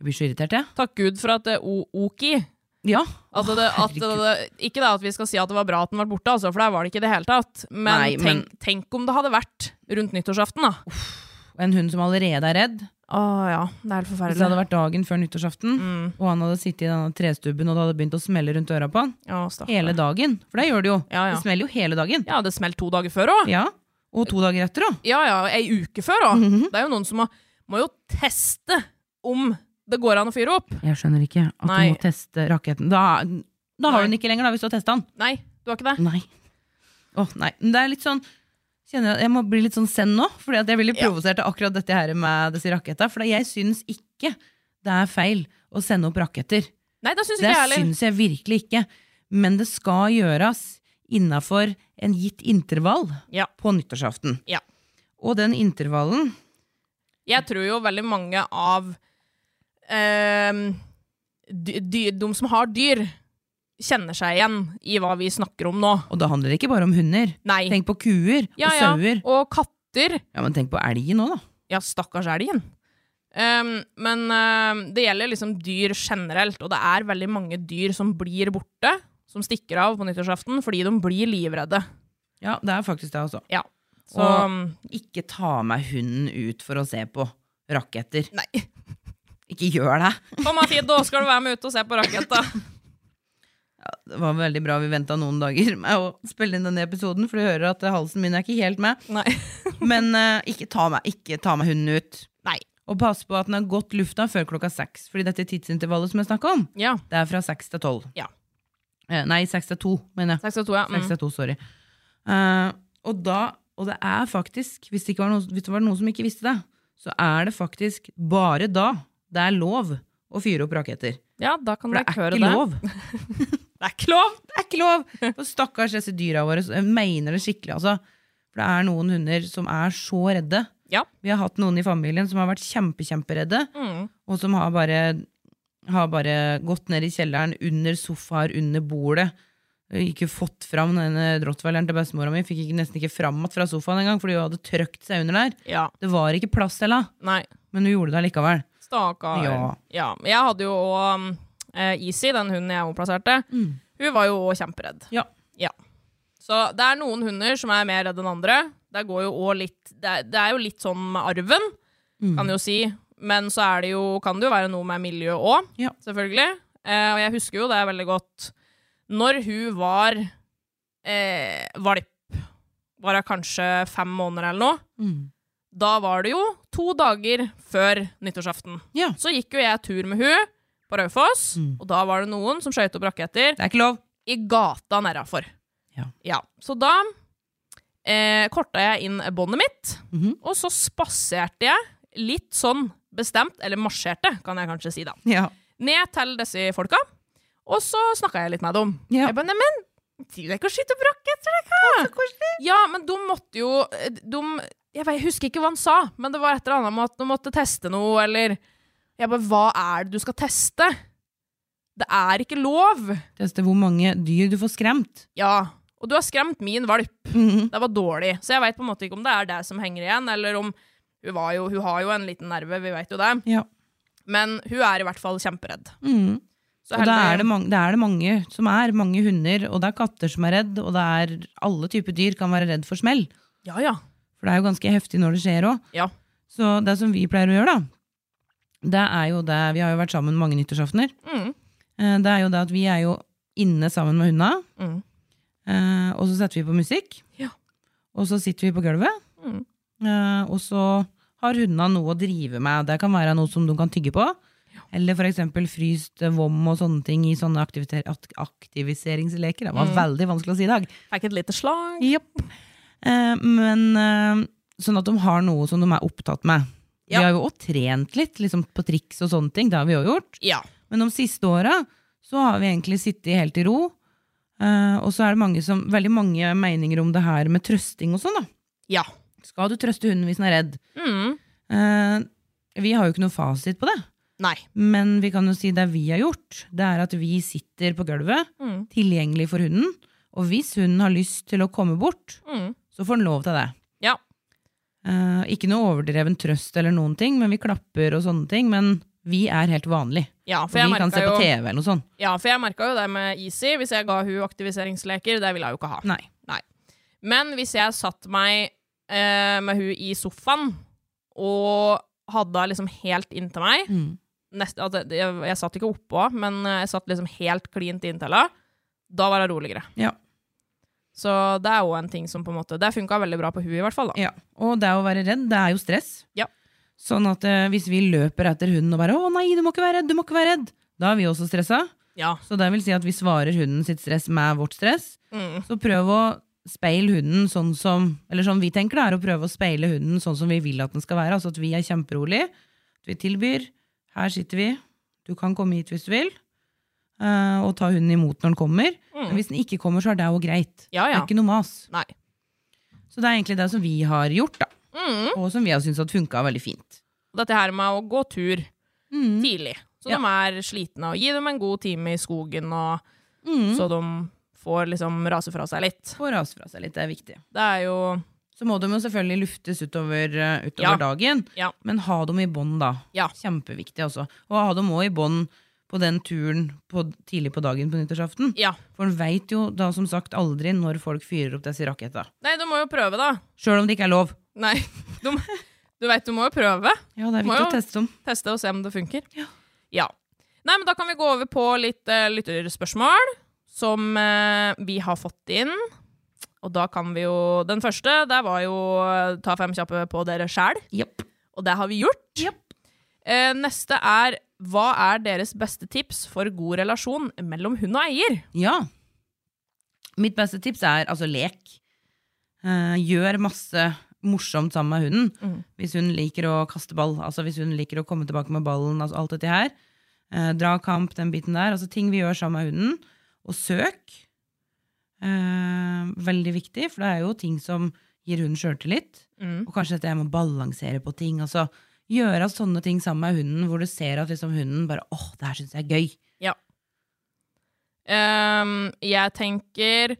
B: Jeg blir så irritert, jeg.
A: Takk Gud for at det o- Oki
B: Ja.
A: at det, at det, Ikke da at vi skal si at det var bra at den ble borte, altså, for det var det ikke i det hele tatt. Men,
B: Nei, men-
A: Tenk, tenk om det hadde vært rundt nyttårsaften, da.
B: Og en hund som allerede er redd.
A: Å ja, det Mm. er helt
B: Hvis det
A: forferdelig.
B: hadde vært dagen før nyttårsaften, og han hadde sittet i denne trestubben og det hadde begynt å smelle rundt øra på han
A: Ja, stakkar.
B: hele dagen For det gjør det jo.
A: Ja, ja.
B: Det smeller jo hele dagen.
A: ja, det smelt to dager før òg.
B: Ja. Og to dager etter òg.
A: Ja ja, ei uke før òg. Det er jo noen som må, må jo teste om det går an å fyre opp.
B: Jeg skjønner ikke at
A: Nei.
B: du må teste raketten. Da, da
A: Nei.
B: har du den ikke lenger, da, hvis du har testa den.
A: Nei, du har ikke det?
B: Nei. Åh, nei. Men det er litt sånn kjenner Jeg jeg må bli litt sånn send nå, Fordi at jeg blir litt
A: Ja.
B: provosert av akkurat dette her med disse raketta. For jeg syns ikke det er feil å sende opp raketter.
A: Nei, det syns ikke jeg
B: Det
A: heller.
B: syns jeg virkelig ikke. Men det skal gjøres innafor en gitt intervall
A: Ja.
B: på nyttårsaften.
A: Ja.
B: Og den intervallen
A: Jeg tror jo veldig mange av ehm, dy, dy, De som har dyr, kjenner seg igjen i hva vi snakker om nå.
B: Og da handler det ikke bare om hunder.
A: Nei.
B: Tenk på kuer
A: ja,
B: og
A: ja.
B: sauer.
A: Og katter.
B: Ja, men tenk på elgen òg, da.
A: Ja, stakkars elgen. Um, men ehm, det gjelder liksom dyr generelt, og det er veldig mange dyr som blir borte, som stikker av på nyttårsaften fordi de blir livredde.
B: Ja, det er faktisk det, altså.
A: Ja. Så ehm,
B: Og- Ikke ta med hunden ut for å se på raketter.
A: Nei.
B: Ikke gjør det!
A: Kom da, Fido, skal du være med ut og se på raketta?
B: Det var veldig bra vi venta noen dager med å spille inn denne episoden, for du hører at halsen min er ikke helt med.
A: Nei.
B: Men eh, ikke, ta meg, ikke ta med hunden ut.
A: Nei.
B: Og pass på at den har gått lufta før klokka seks, fordi dette tidsintervallet som jeg snakka om,
A: Ja.
B: det er fra seks til tolv.
A: Ja.
B: Eh, nei, seks til to, mener jeg.
A: 6 og 2, ja.
B: Seks
A: Mm.
B: til to, sorry. Eh, og da, og det er faktisk, hvis det, ikke var noen, hvis det var noen som ikke visste det, så er det faktisk bare da det er lov å fyre opp raketter.
A: ja, da kan
B: For det
A: dere
B: er
A: høre
B: ikke
A: det.
B: lov.
A: Det er ikke lov!
B: Det er ikke lov! For stakkars disse dyra våre. så Jeg mener det skikkelig, altså. For det er noen hunder som er så redde.
A: Ja.
B: Vi har hatt noen i familien som har vært kjempe, kjemperedde,
A: Mm.
B: og som har bare, har bare gått ned i kjelleren, under sofaer, under bordet. Ikke fått fram denne rottweileren til bestemora mi. Fikk ikke, nesten ikke fram igjen fra sofaen engang, fordi hun hadde trøkt seg under der.
A: Ja.
B: Det var ikke plass til henne,
A: Nei.
B: men hun gjorde det allikevel.
A: Stakkar.
B: Ja.
A: Jeg hadde jo òg Easy, den hunden jeg omplasserte. Hun var jo òg kjemperedd.
B: Ja.
A: Ja. Så det er noen hunder som er mer redd enn andre. Det, går jo også litt, det, er, det er jo litt sånn med arven,
B: Mm.
A: kan jeg jo si. Men så er det jo, kan det jo være noe med miljø òg,
B: Ja.
A: selvfølgelig. Eh, og jeg husker jo det veldig godt. Når hun var eh, valp, var hun kanskje fem måneder eller noe,
B: Mm.
A: da var det jo to dager før nyttårsaften.
B: Ja.
A: Så gikk jo jeg tur med hun på Raufoss,
B: Mm.
A: og da var det noen som skøyt opp raketter
B: Det er ikke lov.
A: i gata nedafor.
B: Ja.
A: Så da eh, korta jeg inn båndet mitt,
B: Mhm.
A: og så spaserte jeg litt sånn bestemt, eller marsjerte, kan jeg kanskje si da,
B: Ja.
A: ned til disse folka, og så snakka jeg litt med dem.
B: Ja.
A: Jeg bare, neimen, driver dere ikke og skyter opp raketter, dere? Ja, men de måtte jo eh, de, jeg, vet, jeg husker ikke hva han sa, men det var et eller annet med at de måtte teste noe, eller Jeg bare, hva er det du skal teste? Det er ikke lov!
B: Teste hvor mange dyr du får skremt.
A: Ja, og du har skremt min valp.
B: Mhm.
A: Det var dårlig. Så jeg veit på en måte ikke om det er det som henger igjen, eller om hun, var jo, hun har jo en liten nerve, vi veit jo det.
B: Ja.
A: Men hun er i hvert fall kjemperedd.
B: Mhm.
A: Så
B: Og da
A: heldig-
B: er det, mange, det er det mange som er. Mange hunder, og det er katter som er redd, og det er alle typer dyr kan være redd for smell.
A: Ja, ja.
B: For det er jo ganske heftig når det skjer òg.
A: Ja.
B: Så det som vi pleier å gjøre, da, det er jo det Vi har jo vært sammen mange nyttårsaftener.
A: Mm.
B: Eh, Det er jo det at vi er jo inne sammen med hundene,
A: Mm.
B: eh, og så setter vi på musikk.
A: Ja.
B: Og så sitter vi på gulvet,
A: Mm.
B: eh, og så har hundene noe å drive med. Det kan være noe som de kan tygge på. Eller for eksempel fryst eh, vom og sånne ting i sånne aktivite- ak- aktiviseringsleker.
A: Mm.
B: Det var veldig vanskelig å si i dag.
A: Fikk et lite slag.
B: Jepp. Eh, men eh, sånn at de har noe som de er opptatt med.
A: Ja.
B: Vi har jo også trent litt liksom på triks og sånne ting. Det har vi også gjort.
A: Ja.
B: Men de siste åra så har vi egentlig sittet helt i ro. eh, og så er det mange som, veldig mange meninger om det her med trøsting og sånn. da.
A: Ja.
B: Skal du trøste hunden hvis den er redd?
A: Mm.
B: Eh, vi har jo ikke noe fasit på det.
A: Nei.
B: Men vi kan jo si det vi har gjort, det er at vi sitter på gulvet,
A: Mm.
B: tilgjengelig for hunden. Og hvis hunden har lyst til å komme bort,
A: Mm.
B: så får den lov til det.
A: Ja.
B: Eh, ikke noe overdreven trøst eller noen ting, men vi klapper og sånne ting. Men vi er helt vanlig.
A: Ja,
B: Og
A: for jeg
B: vi kan
A: merka
B: se på
A: jo,
B: TV eller noe sånt.
A: ja, for jeg merket jo det med Easy. Hvis jeg ga hun aktiviseringsleker, det ville hun jo ikke ha.
B: Nei.
A: Men hvis jeg satt meg eh, med hun i sofaen og hadde henne liksom helt inntil meg
B: Mm.
A: nest, at jeg, jeg, jeg satt ikke oppå, men eh, jeg satt liksom helt klint inntil henne. Da var hun roligere.
B: Ja.
A: Så det er jo en ting som på en måte Det funka veldig bra på hun i hvert fall, da.
B: Ja. Og det å være redd, det er jo stress.
A: Ja.
B: Sånn at eh, hvis vi løper etter hunden og bare 'Å nei, du må ikke være redd', du må ikke være redd, da er vi også stressa.
A: Ja.
B: Så det vil si at vi svarer hunden sitt stress med vårt stress.
A: Mm.
B: Så prøv å speile hunden sånn som Eller sånn vi tenker det er å prøve å speile hunden sånn som vi vil at den skal være. Altså at vi er kjemperolig. At vi tilbyr. Her sitter vi. Du kan komme hit hvis du vil. eh, og ta hunden imot når den kommer. Men hvis den ikke kommer, så er det jo greit.
A: Mm. Ja,
B: Det
A: ja.
B: er ikke noe mas.
A: Nei.
B: Så det er egentlig det som vi har gjort, da.
A: Mm.
B: Og som vi har syntes at funka veldig fint.
A: Dette her med å gå tur tidlig, så
B: Mm. Ja.
A: de er slitne, og gi dem en god time i skogen, og
B: Mm.
A: så de får liksom rase fra seg litt.
B: Få rase fra seg litt, det er viktig.
A: Det er jo
B: Så må de jo selvfølgelig luftes utover, eh, utover
A: Ja.
B: dagen,
A: Ja.
B: men ha dem i bånd da.
A: Ja.
B: Kjempeviktig, altså. Og ha dem òg i bånd på den turen på, tidlig på dagen på nyttårsaften.
A: Ja.
B: For en veit jo da som sagt aldri når folk fyrer opp disse raketta.
A: Nei, du må jo prøve, da.
B: Sjøl om det ikke er lov.
A: Nei, du, må- du veit du må jo prøve.
B: Ja, det er
A: Må
B: viktig
A: jo-
B: å teste dem.
A: Teste og se om det funker. Ja. Nei, men da kan vi gå over på litt eh, lytterspørsmål som eh, vi har fått inn. Og da kan vi jo Den første, der var jo eh, ta fem kjappe på dere sjæl.
B: Jepp.
A: Og det har vi gjort. Eh, neste er hva er deres beste tips for god relasjon mellom hund og eier?
B: Ja. Mitt beste tips er altså lek. Eh, gjør masse morsomt sammen med hunden. Hvis hun liker å kaste ball, altså hvis hun liker å komme tilbake med ballen, altså alt dette her. Eh, dra kamp, den biten der. Altså ting vi gjør sammen med hunden. Og søk. Eh, veldig viktig, for det er jo ting som gir hunden sjøltillit. Og kanskje dette her med å balansere på ting. altså Gjøre sånne ting sammen med hunden hvor du ser at liksom hunden bare åh, det her syns jeg er gøy.
A: Ehm, jeg tenker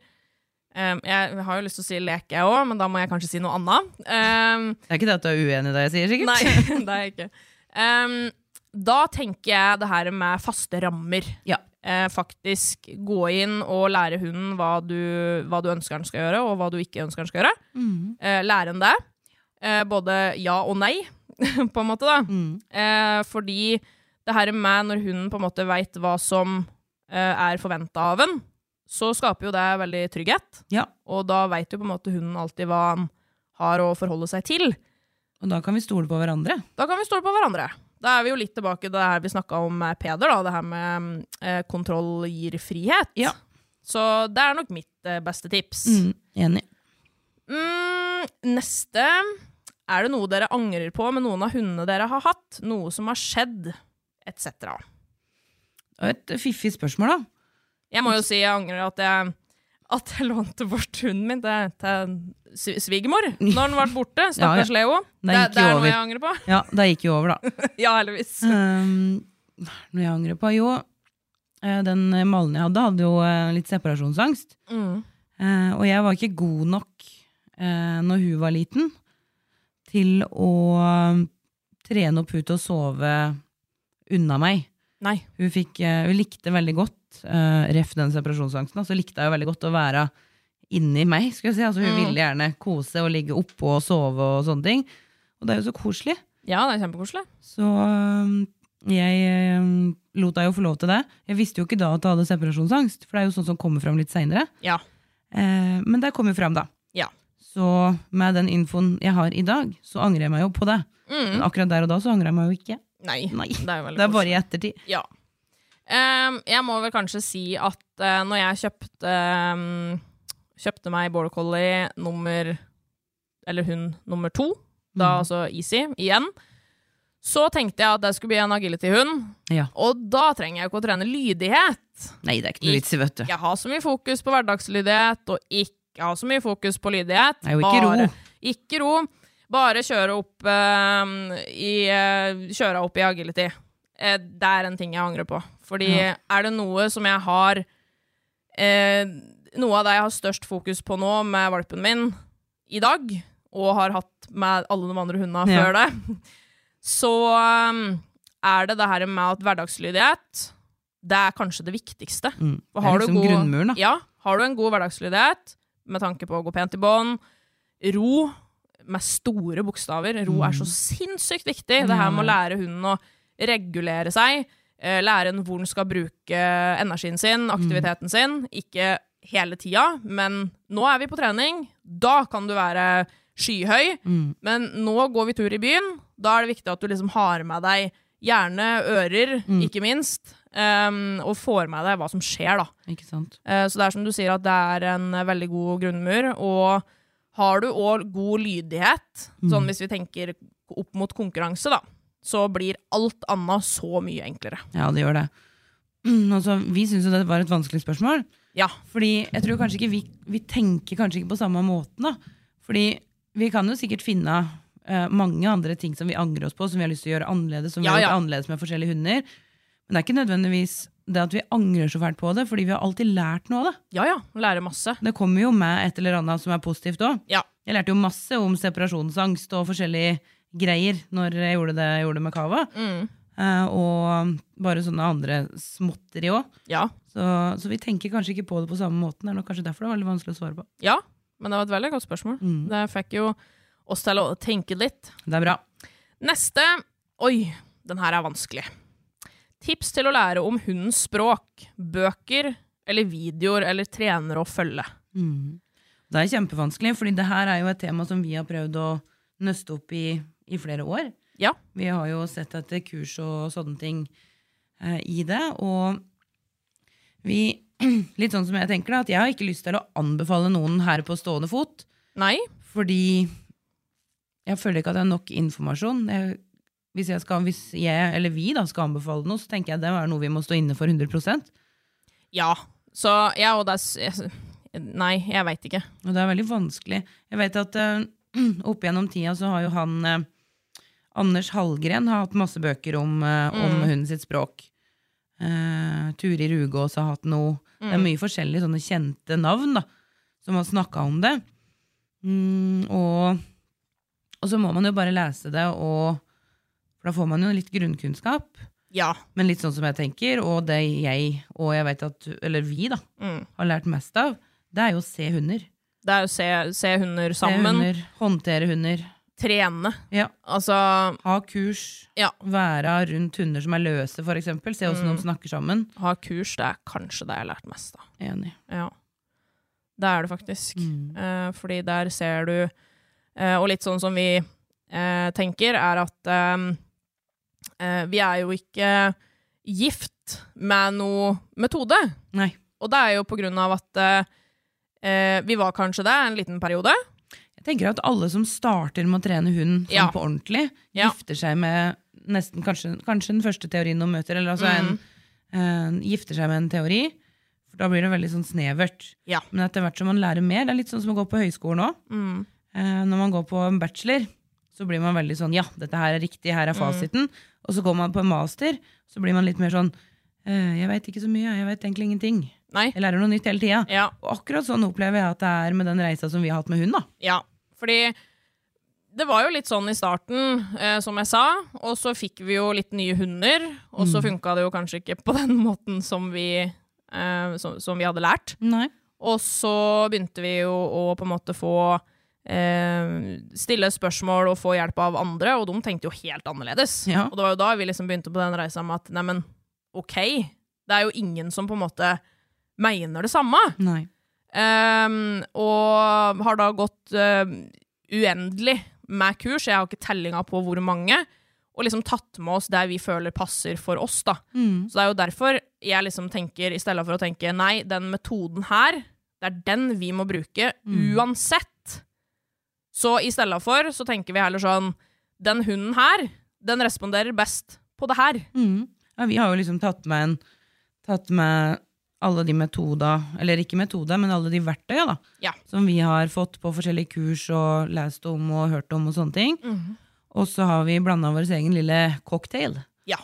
A: ehm, Jeg har jo lyst til å si lek, jeg òg, men da må jeg kanskje si noe annet. Ehm,
B: Det er ikke det at du er uenig i det jeg sier, sikkert?
A: Nei, det er jeg ikke. Ehm, da tenker jeg det her med faste rammer.
B: Ja.
A: Eh, faktisk gå inn og lære hunden hva du, hva du ønsker den skal gjøre, og hva du ikke ønsker den skal gjøre. Eh, lære den det. Eh, både ja og nei, på en måte, da. Eh, fordi det her med når hunden på en måte veit hva som eh, er forventa av den, så skaper jo det veldig trygghet.
B: Ja,
A: Og da veit jo på en måte hunden alltid hva han har å forholde seg til.
B: og da kan vi stole på hverandre.
A: Da kan vi stole på hverandre. Da er vi jo litt tilbake til det her vi snakka om med Peder, da, det her med mm, eh, kontroll gir frihet.
B: Ja. Mm.
A: Så det er nok mitt eh, beste tips.
B: Enig.
A: Mm, neste Er det noe dere angrer på med noen av hundene dere har hatt? Noe som har skjedd? Etc.
B: Og et fiffig spørsmål, da.
A: Jeg må jo si jeg angrer at jeg, at jeg lånte bort hunden min til, til sv- svigermor når den var borte.
B: Ja, ja.
A: Stakkars Leo.
B: Den
A: Det,
B: gikk
A: det
B: jo
A: er
B: over.
A: noe jeg angrer på.
B: Ja, det gikk jo over, da.
A: Ja, heldigvis.
B: Um, noe jeg angrer på? Jo, eh, den malen jeg hadde, hadde jo eh, litt separasjonsangst.
A: Mm.
B: Eh, Og jeg var ikke god nok eh, når hun var liten, til å eh, trene opp hun til å sove unna meg.
A: Nei.
B: Hun, fikk, eh, hun likte veldig godt eh, Ref den separasjonsangsten. da, Så likte hun veldig godt å være inni meg.
A: Mm.
B: Skal jeg si. altså, hun ville gjerne kose og ligge oppå og sove og sånne ting. Og det er jo så koselig.
A: Ja, det er kjempekoselig.
B: Så øhm, jeg øhm, lot deg jo få lov til det. Jeg visste jo ikke da at du hadde separasjonsangst, for det er jo sånn som kommer fram litt seinere.
A: Ja.
B: Eh, men det kom jo fram, da.
A: Ja.
B: Så med den infoen jeg har i dag, så angrer jeg meg jo på det. Men akkurat der og da så angrer jeg meg jo ikke.
A: Nei.
B: Nei.
A: Mm. Det er jo veldig
B: Det er
A: koselig.
B: bare i ettertid.
A: Ja. Ehm, jeg må vel kanskje si at eh, når jeg kjøpte ehm, Kjøpte meg border collie nummer Eller hun nummer to,
B: Mhm.
A: da altså Easy, igjen, så tenkte jeg at det skulle bli en agility-hund.
B: Ja.
A: Og da trenger jeg jo ikke å trene lydighet.
B: Nei, det er ikke noe vits i, vet du.
A: Jeg har så mye fokus på hverdagslydighet, og ikke ha så mye fokus på lydighet.
B: Nei, og ikke ro.
A: Ikke ro. Bare kjøre opp eh, i eh, Kjøre opp i agility. Eh, det er en ting jeg angrer på. Fordi
B: Ja.
A: er det noe som jeg har eh, Noe av det jeg har størst fokus på nå med valpen min i dag, og har hatt med alle de andre hundene
B: Ja.
A: før det, så eh, er det det her med at hverdagslydighet det er kanskje det viktigste.
B: Mm.
A: Og
B: Det er liksom grunnmuren, da.
A: Ja, har du en god hverdagslydighet, med tanke på å gå pent i bånd, ro med store bokstaver Ro er så sinnssykt viktig. Det her med å lære hunden å regulere seg, eh, lære den hvor den skal bruke energien sin, aktiviteten sin. Ikke hele tida, men nå er vi på trening. Da kan du være skyhøy.
B: Mm.
A: Men nå går vi tur i byen. Da er det viktig at du liksom har med deg gjerne ører, ikke minst, em, og får med deg hva som skjer, da.
B: Ikke sant?
A: Eh, Så det er som du sier at det er en eh, veldig god grunnmur. Og har du òg god lydighet, sånn hvis vi tenker opp mot konkurranse, da, så blir alt annet så mye enklere.
B: Ja, det gjør det. Mm, Altså, vi syns jo det var et vanskelig spørsmål.
A: Ja.
B: Fordi jeg tror kanskje ikke vi, vi tenker kanskje ikke på samme måten. da. Fordi vi kan jo sikkert finne eh, mange andre ting som vi angrer oss på, som vi har lyst til å gjøre annerledes, som vi
A: Ja,
B: har
A: ja.
B: gjort annerledes med forskjellige hunder. Men det er ikke nødvendigvis det at vi angrer så fælt på det, fordi vi har alltid lært noe av det.
A: Ja ja, lære masse.
B: Det kommer jo med et eller annet som er positivt òg.
A: Ja.
B: Jeg lærte jo masse om separasjonsangst og forskjellige greier når jeg gjorde det jeg gjorde med Kava.
A: Mm.
B: Eh, og bare sånne andre småtteri òg.
A: Ja.
B: Så, så vi tenker kanskje ikke på det på samme måten. Det er nok kanskje derfor det er veldig vanskelig å svare på.
A: ja. Men det var et veldig godt spørsmål. Det fikk jo oss til å tenke litt.
B: Det er bra.
A: Neste. Oi, den her er vanskelig. Tips til å lære om hundens språk, bøker eller videoer eller trenere å følge.
B: Det er kjempevanskelig, fordi det her er jo et tema som vi har prøvd å nøste opp i i flere år.
A: Ja.
B: Vi har jo sett etter kurs og sånne ting eh, i det, og vi Litt sånn som jeg tenker det, at jeg har ikke lyst til å anbefale noen her på stående fot,
A: Nei?
B: fordi jeg føler ikke at jeg har nok informasjon. Jeg, hvis, jeg skal, hvis jeg, eller vi, da, skal anbefale noe, så tenker jeg det er noe vi må stå inne for 100
A: Ja. Så ja, og det er s- jeg- Nei, jeg veit ikke.
B: Og det er veldig vanskelig. Jeg vet at eh, opp gjennom tida så har jo han eh, Anders Hallgren har hatt masse bøker om, uh, om hunden sitt språk. Eh, Turi Rugås har hatt noe. Det er mye forskjellige sånne kjente navn da, som har snakka om det. Mm, og, og så må man jo bare lese det, og, for da får man jo litt grunnkunnskap.
A: Ja.
B: Men litt sånn som jeg tenker, og det jeg og jeg vet at, eller vi da,
A: Mm.
B: har lært mest av, det er jo å se hunder.
A: Det er jo se, se hunder
B: Se
A: sammen.
B: Hunder, håndtere hunder.
A: Trene.
B: Ja.
A: Altså
B: Ha kurs.
A: Ja.
B: Være rundt hunder som er løse, for eksempel. Se åssen de snakker sammen.
A: ha kurs, det er kanskje det jeg har lært mest av.
B: Enig.
A: Ja. Det er det faktisk.
B: Mm.
A: Eh, fordi der ser du eh, Og litt sånn som vi eh, tenker, er at eh, eh, vi er jo ikke gift med noe metode.
B: Nei.
A: Og det er jo på grunn av at eh, eh, vi var kanskje det en liten periode.
B: Jeg tenker at alle som starter med å trene hund sånn
A: Ja.
B: på ordentlig,
A: Ja.
B: gifter seg med nesten kanskje, kanskje den første teorien de møter, eller altså
A: Mm.
B: en, en gifter seg med en teori. For da blir det veldig sånn snevert.
A: Ja.
B: Men etter hvert som man lærer mer, det er litt sånn som å gå på høyskolen òg.
A: Mm.
B: Eh, når man går på en bachelor, så blir man veldig sånn Ja, dette her er riktig, her er
A: Mm.
B: fasiten. Og så går man på en master, så blir man litt mer sånn eh, Jeg veit ikke så mye, jeg veit egentlig ingenting.
A: Nei.
B: Jeg lærer noe nytt hele tida.
A: Ja.
B: Og akkurat sånn opplever jeg at det er med den reisa som vi har hatt med hun. da
A: Ja, fordi det var jo litt sånn i starten, eh, som jeg sa, og så fikk vi jo litt nye hunder, og så funka det jo kanskje ikke på den måten som vi, eh, som, som vi hadde lært.
B: Nei.
A: Og så begynte vi jo å på en måte få eh, stille spørsmål og få hjelp av andre, og de tenkte jo helt annerledes.
B: Ja.
A: Og det var jo da vi liksom begynte på den reisa med at neimen, ok, det er jo ingen som på en måte mener det samme.
B: Nei.
A: Ehm, og har da gått ehm, uendelig med kurs. Jeg har ikke tellinga på hvor mange. Og liksom tatt med oss der vi føler passer for oss. da. Så det er jo derfor jeg liksom tenker, i stedet for å tenke nei, den metoden her, det er den vi må bruke uansett. Så i stedet for så tenker vi heller sånn den hunden her, den responderer best på det her.
B: Mm. Ja, vi har jo liksom tatt med, en, tatt med alle de metoda, eller ikke metoda, men alle de verktøya da,
A: Ja.
B: som vi har fått på forskjellige kurs og lest om og hørt om og sånne ting. Og så har vi blanda vår egen lille cocktail,
A: Ja.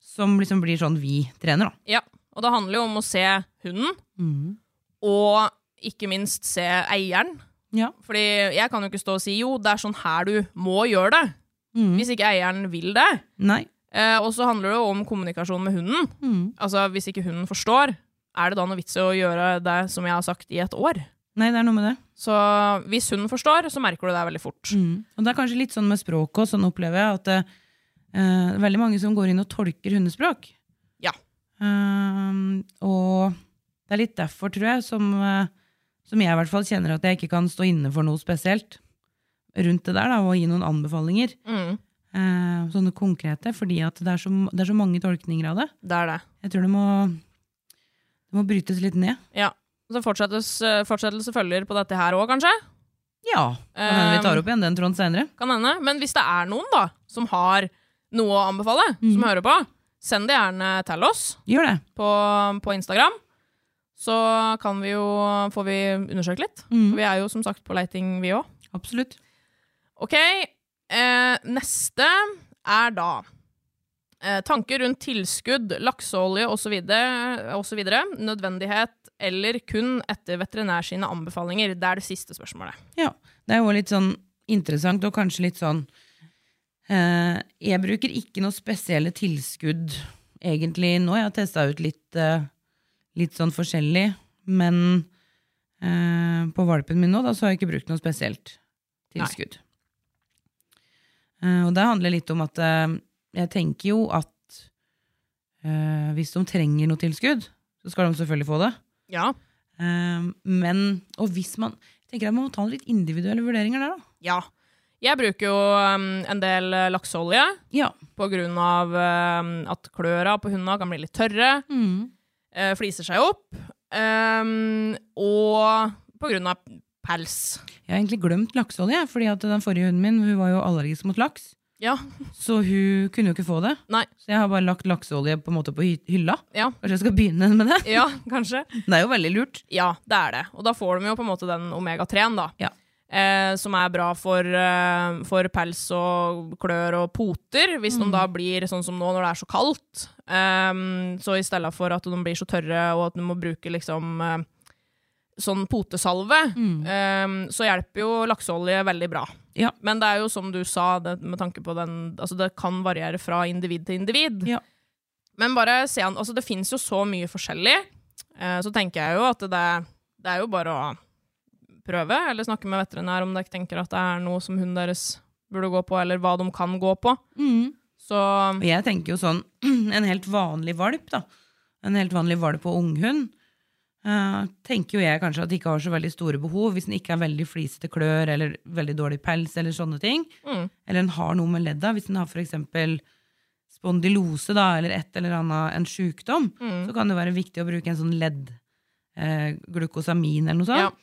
B: som liksom blir sånn vi trener, da.
A: Ja, og det handler jo om å se hunden, og ikke minst se eieren.
B: Ja.
A: Fordi jeg kan jo ikke stå og si jo, det er sånn her du må gjøre det, hvis ikke eieren vil det.
B: Nei.
A: Eh, og så handler det jo om kommunikasjon med hunden. Altså, hvis ikke hunden forstår, er det da noe vits i å gjøre det som jeg har sagt i et år?
B: Nei, det er noe med det.
A: Så hvis hunden forstår, så merker du det veldig fort.
B: Og det er kanskje litt sånn med språket og sånn opplever jeg at eh, det er veldig mange som går inn og tolker hundespråk.
A: Ja.
B: Ehm, og det er litt derfor, tror jeg, som, eh, som jeg i hvert fall kjenner at jeg ikke kan stå inne for noe spesielt rundt det der, da, og gi noen anbefalinger.
A: Mm,
B: eh, sånne konkrete, fordi at det er, så, det er så mange tolkninger av det.
A: det er det.
B: Jeg tror det må, det må brytes litt ned.
A: Ja. Så fortsettes- eh, fortsettelse følger på dette her òg, kanskje?
B: Ja, kan hende vi tar opp igjen den tråden senere.
A: Kan hende. Men hvis det er noen da, som har noe å anbefale, som hører på, send det gjerne til oss
B: Gjør det.
A: på, på Instagram. Så kan vi jo, får vi undersøkt litt.
B: Mm.
A: Vi er jo som sagt på leiting, vi òg.
B: Absolutt.
A: Ok, eh, neste er da eh, tanker rundt tilskudd, lakseolje osv. Nødvendighet eller kun etter veterinær sine anbefalinger. Det er det siste spørsmålet.
B: Ja, det er jo litt sånn interessant, og kanskje litt sånn eh, Jeg bruker ikke noe spesielle tilskudd egentlig nå. Jeg har testa ut litt, eh, litt sånn forskjellig, men eh, på valpen min nå da, så har jeg ikke brukt noe spesielt tilskudd. Eh, og det handler litt om at eh, jeg tenker jo at eh, hvis de trenger noe tilskudd, så skal de selvfølgelig få det.
A: Ja.
B: Eh, men, og hvis man jeg tenker at Man må ta noen litt individuelle vurderinger der, da.
A: Ja. Jeg bruker jo um, en del eh, lakseolje
B: Ja.
A: på grunn av um, at kløra på hundene kan bli litt tørre, eh, fliser seg opp, um, og på grunn av pels.
B: Jeg har egentlig glemt lakseolje, jeg, fordi at den forrige hunden min hun var jo allergisk mot laks.
A: Ja.
B: Så hun kunne jo ikke få det.
A: Nei.
B: Så jeg har bare lagt lakseolje på, en måte på hy- hylla.
A: Ja.
B: Kanskje jeg skal begynne med det?
A: Ja, kanskje.
B: Det er jo veldig lurt.
A: Ja, det er det. Og da får de jo på en måte den omega-3-en, da.
B: Ja.
A: Eh, som er bra for, eh, for pels og klør og poter, hvis de da blir sånn som nå når det er så kaldt. Ehm, så i stedet for at de blir så tørre og at du må bruke liksom eh, sånn potesalve, ehm, så hjelper jo lakseolje veldig bra.
B: Ja.
A: Men det er jo som du sa, det, med tanke på den Altså det kan variere fra individ til individ.
B: Ja.
A: Men bare se an, altså det fins jo så mye forskjellig. Eh, Så tenker jeg jo at det, det er jo bare å prøve, eller snakke med veterinær om dere tenker at det er noe som hunden deres burde gå på, eller hva de kan gå på. Så
B: Og jeg tenker jo sånn, en helt vanlig valp da, en helt vanlig valp og unghund, eh, tenker jo jeg kanskje at de ikke har så veldig store behov, hvis den ikke er veldig flisete klør, eller veldig dårlig pels, eller sånne ting.
A: Mm.
B: Eller den har noe med ledda, hvis den har for eksempel spondylose da, eller et eller annet, en sykdom,
A: Mm.
B: så kan det være viktig å bruke en sånn ledd, eh, glukosamin eller noe
A: ja.
B: sånt.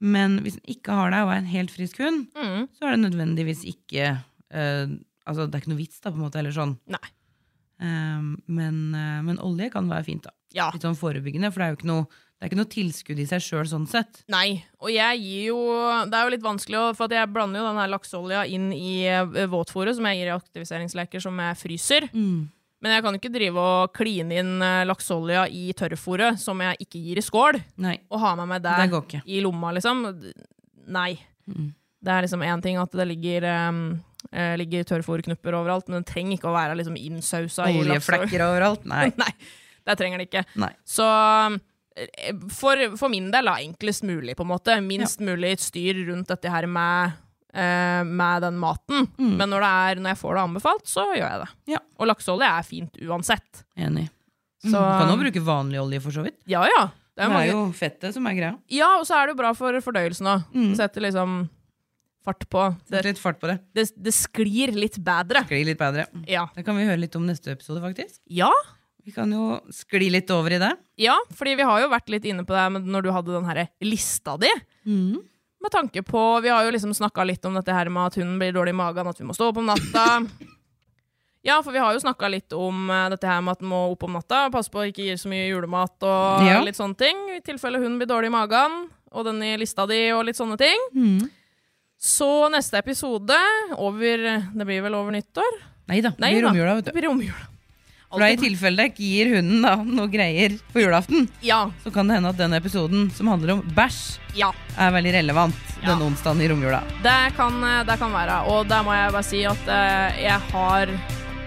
B: Men hvis den ikke har det, og er en helt frisk hund,
A: Mm,
B: så er det nødvendigvis ikke, eh, altså det er ikke noe vits da, på en måte, eller sånn.
A: nei.
B: Um, men, eh, men olje kan være fint, da.
A: Ja.
B: Litt sånn forebyggende, for det er jo ikke noe, det er ikke noe tilskudd i seg sjøl sånn sett.
A: Nei. Og jeg gir jo Det er jo litt vanskelig, å- for at jeg blander jo den her lakseolja inn i eh, våtfôret, som jeg gir i aktiviseringsleker som jeg fryser.
B: Mm.
A: Men jeg kan ikke drive og kline inn eh, lakseolja i tørrfôret som jeg ikke gir i skål,
B: Nei,
A: og ha med meg det,
B: det går ikke. Mm.
A: i lomma, liksom. Nei. Det er liksom én ting at det ligger, um, eh, ligger tørrfòrknupper overalt, men det trenger ikke å være liksom innsausa i lakseolje.
B: Oljeflekker overalt? Nei.
A: Nei, det trenger det ikke.
B: Nei.
A: Så eh, for, for min del, da, enklest mulig, på en måte. Minst mulig styr rundt dette her med, eh, med den maten.
B: Mm.
A: Men når, det er, når jeg får det anbefalt, så gjør jeg det.
B: Ja.
A: Og lakseolje er fint uansett.
B: Enig.
A: Så,
B: Du Mm. kan jo bruke vanlig olje, for så vidt.
A: ja, Mhm. ja. Det er
B: Det er
A: mange,
B: jo fettet som er greia.
A: ja, og så er det jo bra for fordøyelsen òg.
B: Mm.
A: Setter liksom fart på. Det,
B: Litt fart på det.
A: det, det sklir litt bedre.
B: Skli litt bedre.
A: Ja.
B: Det kan vi høre litt om neste episode, faktisk.
A: ja.
B: Vi kan jo skli litt over i det.
A: Ja, fordi vi har jo vært litt inne på det her med når du hadde den her lista di.
B: Mm.
A: Med tanke på, Vi har jo liksom snakka litt om dette her med at hunden blir dårlig i magen, at vi må stå opp om natta. Ja, for vi har jo snakka litt om eh, dette her med at den må opp om natta. Passe på å ikke gi så mye julemat og
B: Ja.
A: litt sånne ting. I tilfelle hunden blir dårlig i magen, og den i lista di og litt sånne ting.
B: Mm.
A: Så neste episode over Det blir vel over nyttår?
B: Nei da, det
A: Nei
B: blir
A: da,
B: romjula, vet
A: Det
B: du.
A: blir romjula.
B: For da i tilfelle dere ikke gir hunden da noe greier på julaften,
A: Ja.
B: så kan det hende at den episoden som handler om bæsj,
A: Ja.
B: er veldig relevant denne onsdagen i romjula.
A: Det kan, eh, det kan være. Og der må jeg bare si at eh, jeg har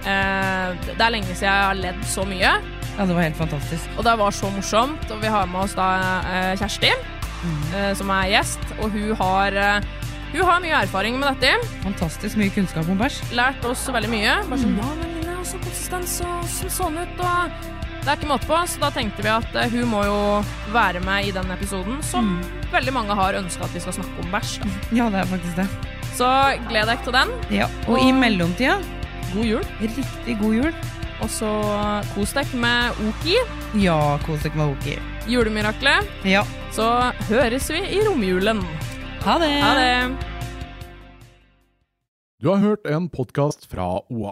A: eh, Det er lenge siden jeg har ledd så mye,
B: Ja, det var helt fantastisk.
A: og det var så morsomt. Og vi har med oss da eh, Kjersti, eh, som er gjest, og hun har eh, hun har mye erfaring med dette.
B: Fantastisk mye kunnskap om bæsj.
A: Lært oss veldig mye. Bare sånn, ja, men Line, altså, konsistens og sånn, sånn ut, og det er ikke måte på. Så da tenkte vi at eh, hun må jo være med i den episoden som veldig mange har ønska at vi skal snakke om bæsj. da.
B: Ja, det er faktisk det.
A: Så gled dere til den.
B: Ja. Og i mellomtida,
A: God jul.
B: riktig god jul.
A: Og så kos dere med Oki,
B: Ja, kos dere med hockey.
A: julemiraklet.
B: Ja.
A: Så høres vi i romjulen.
B: Ha det!
A: Ha det!
D: Du har hørt en podkast fra OA.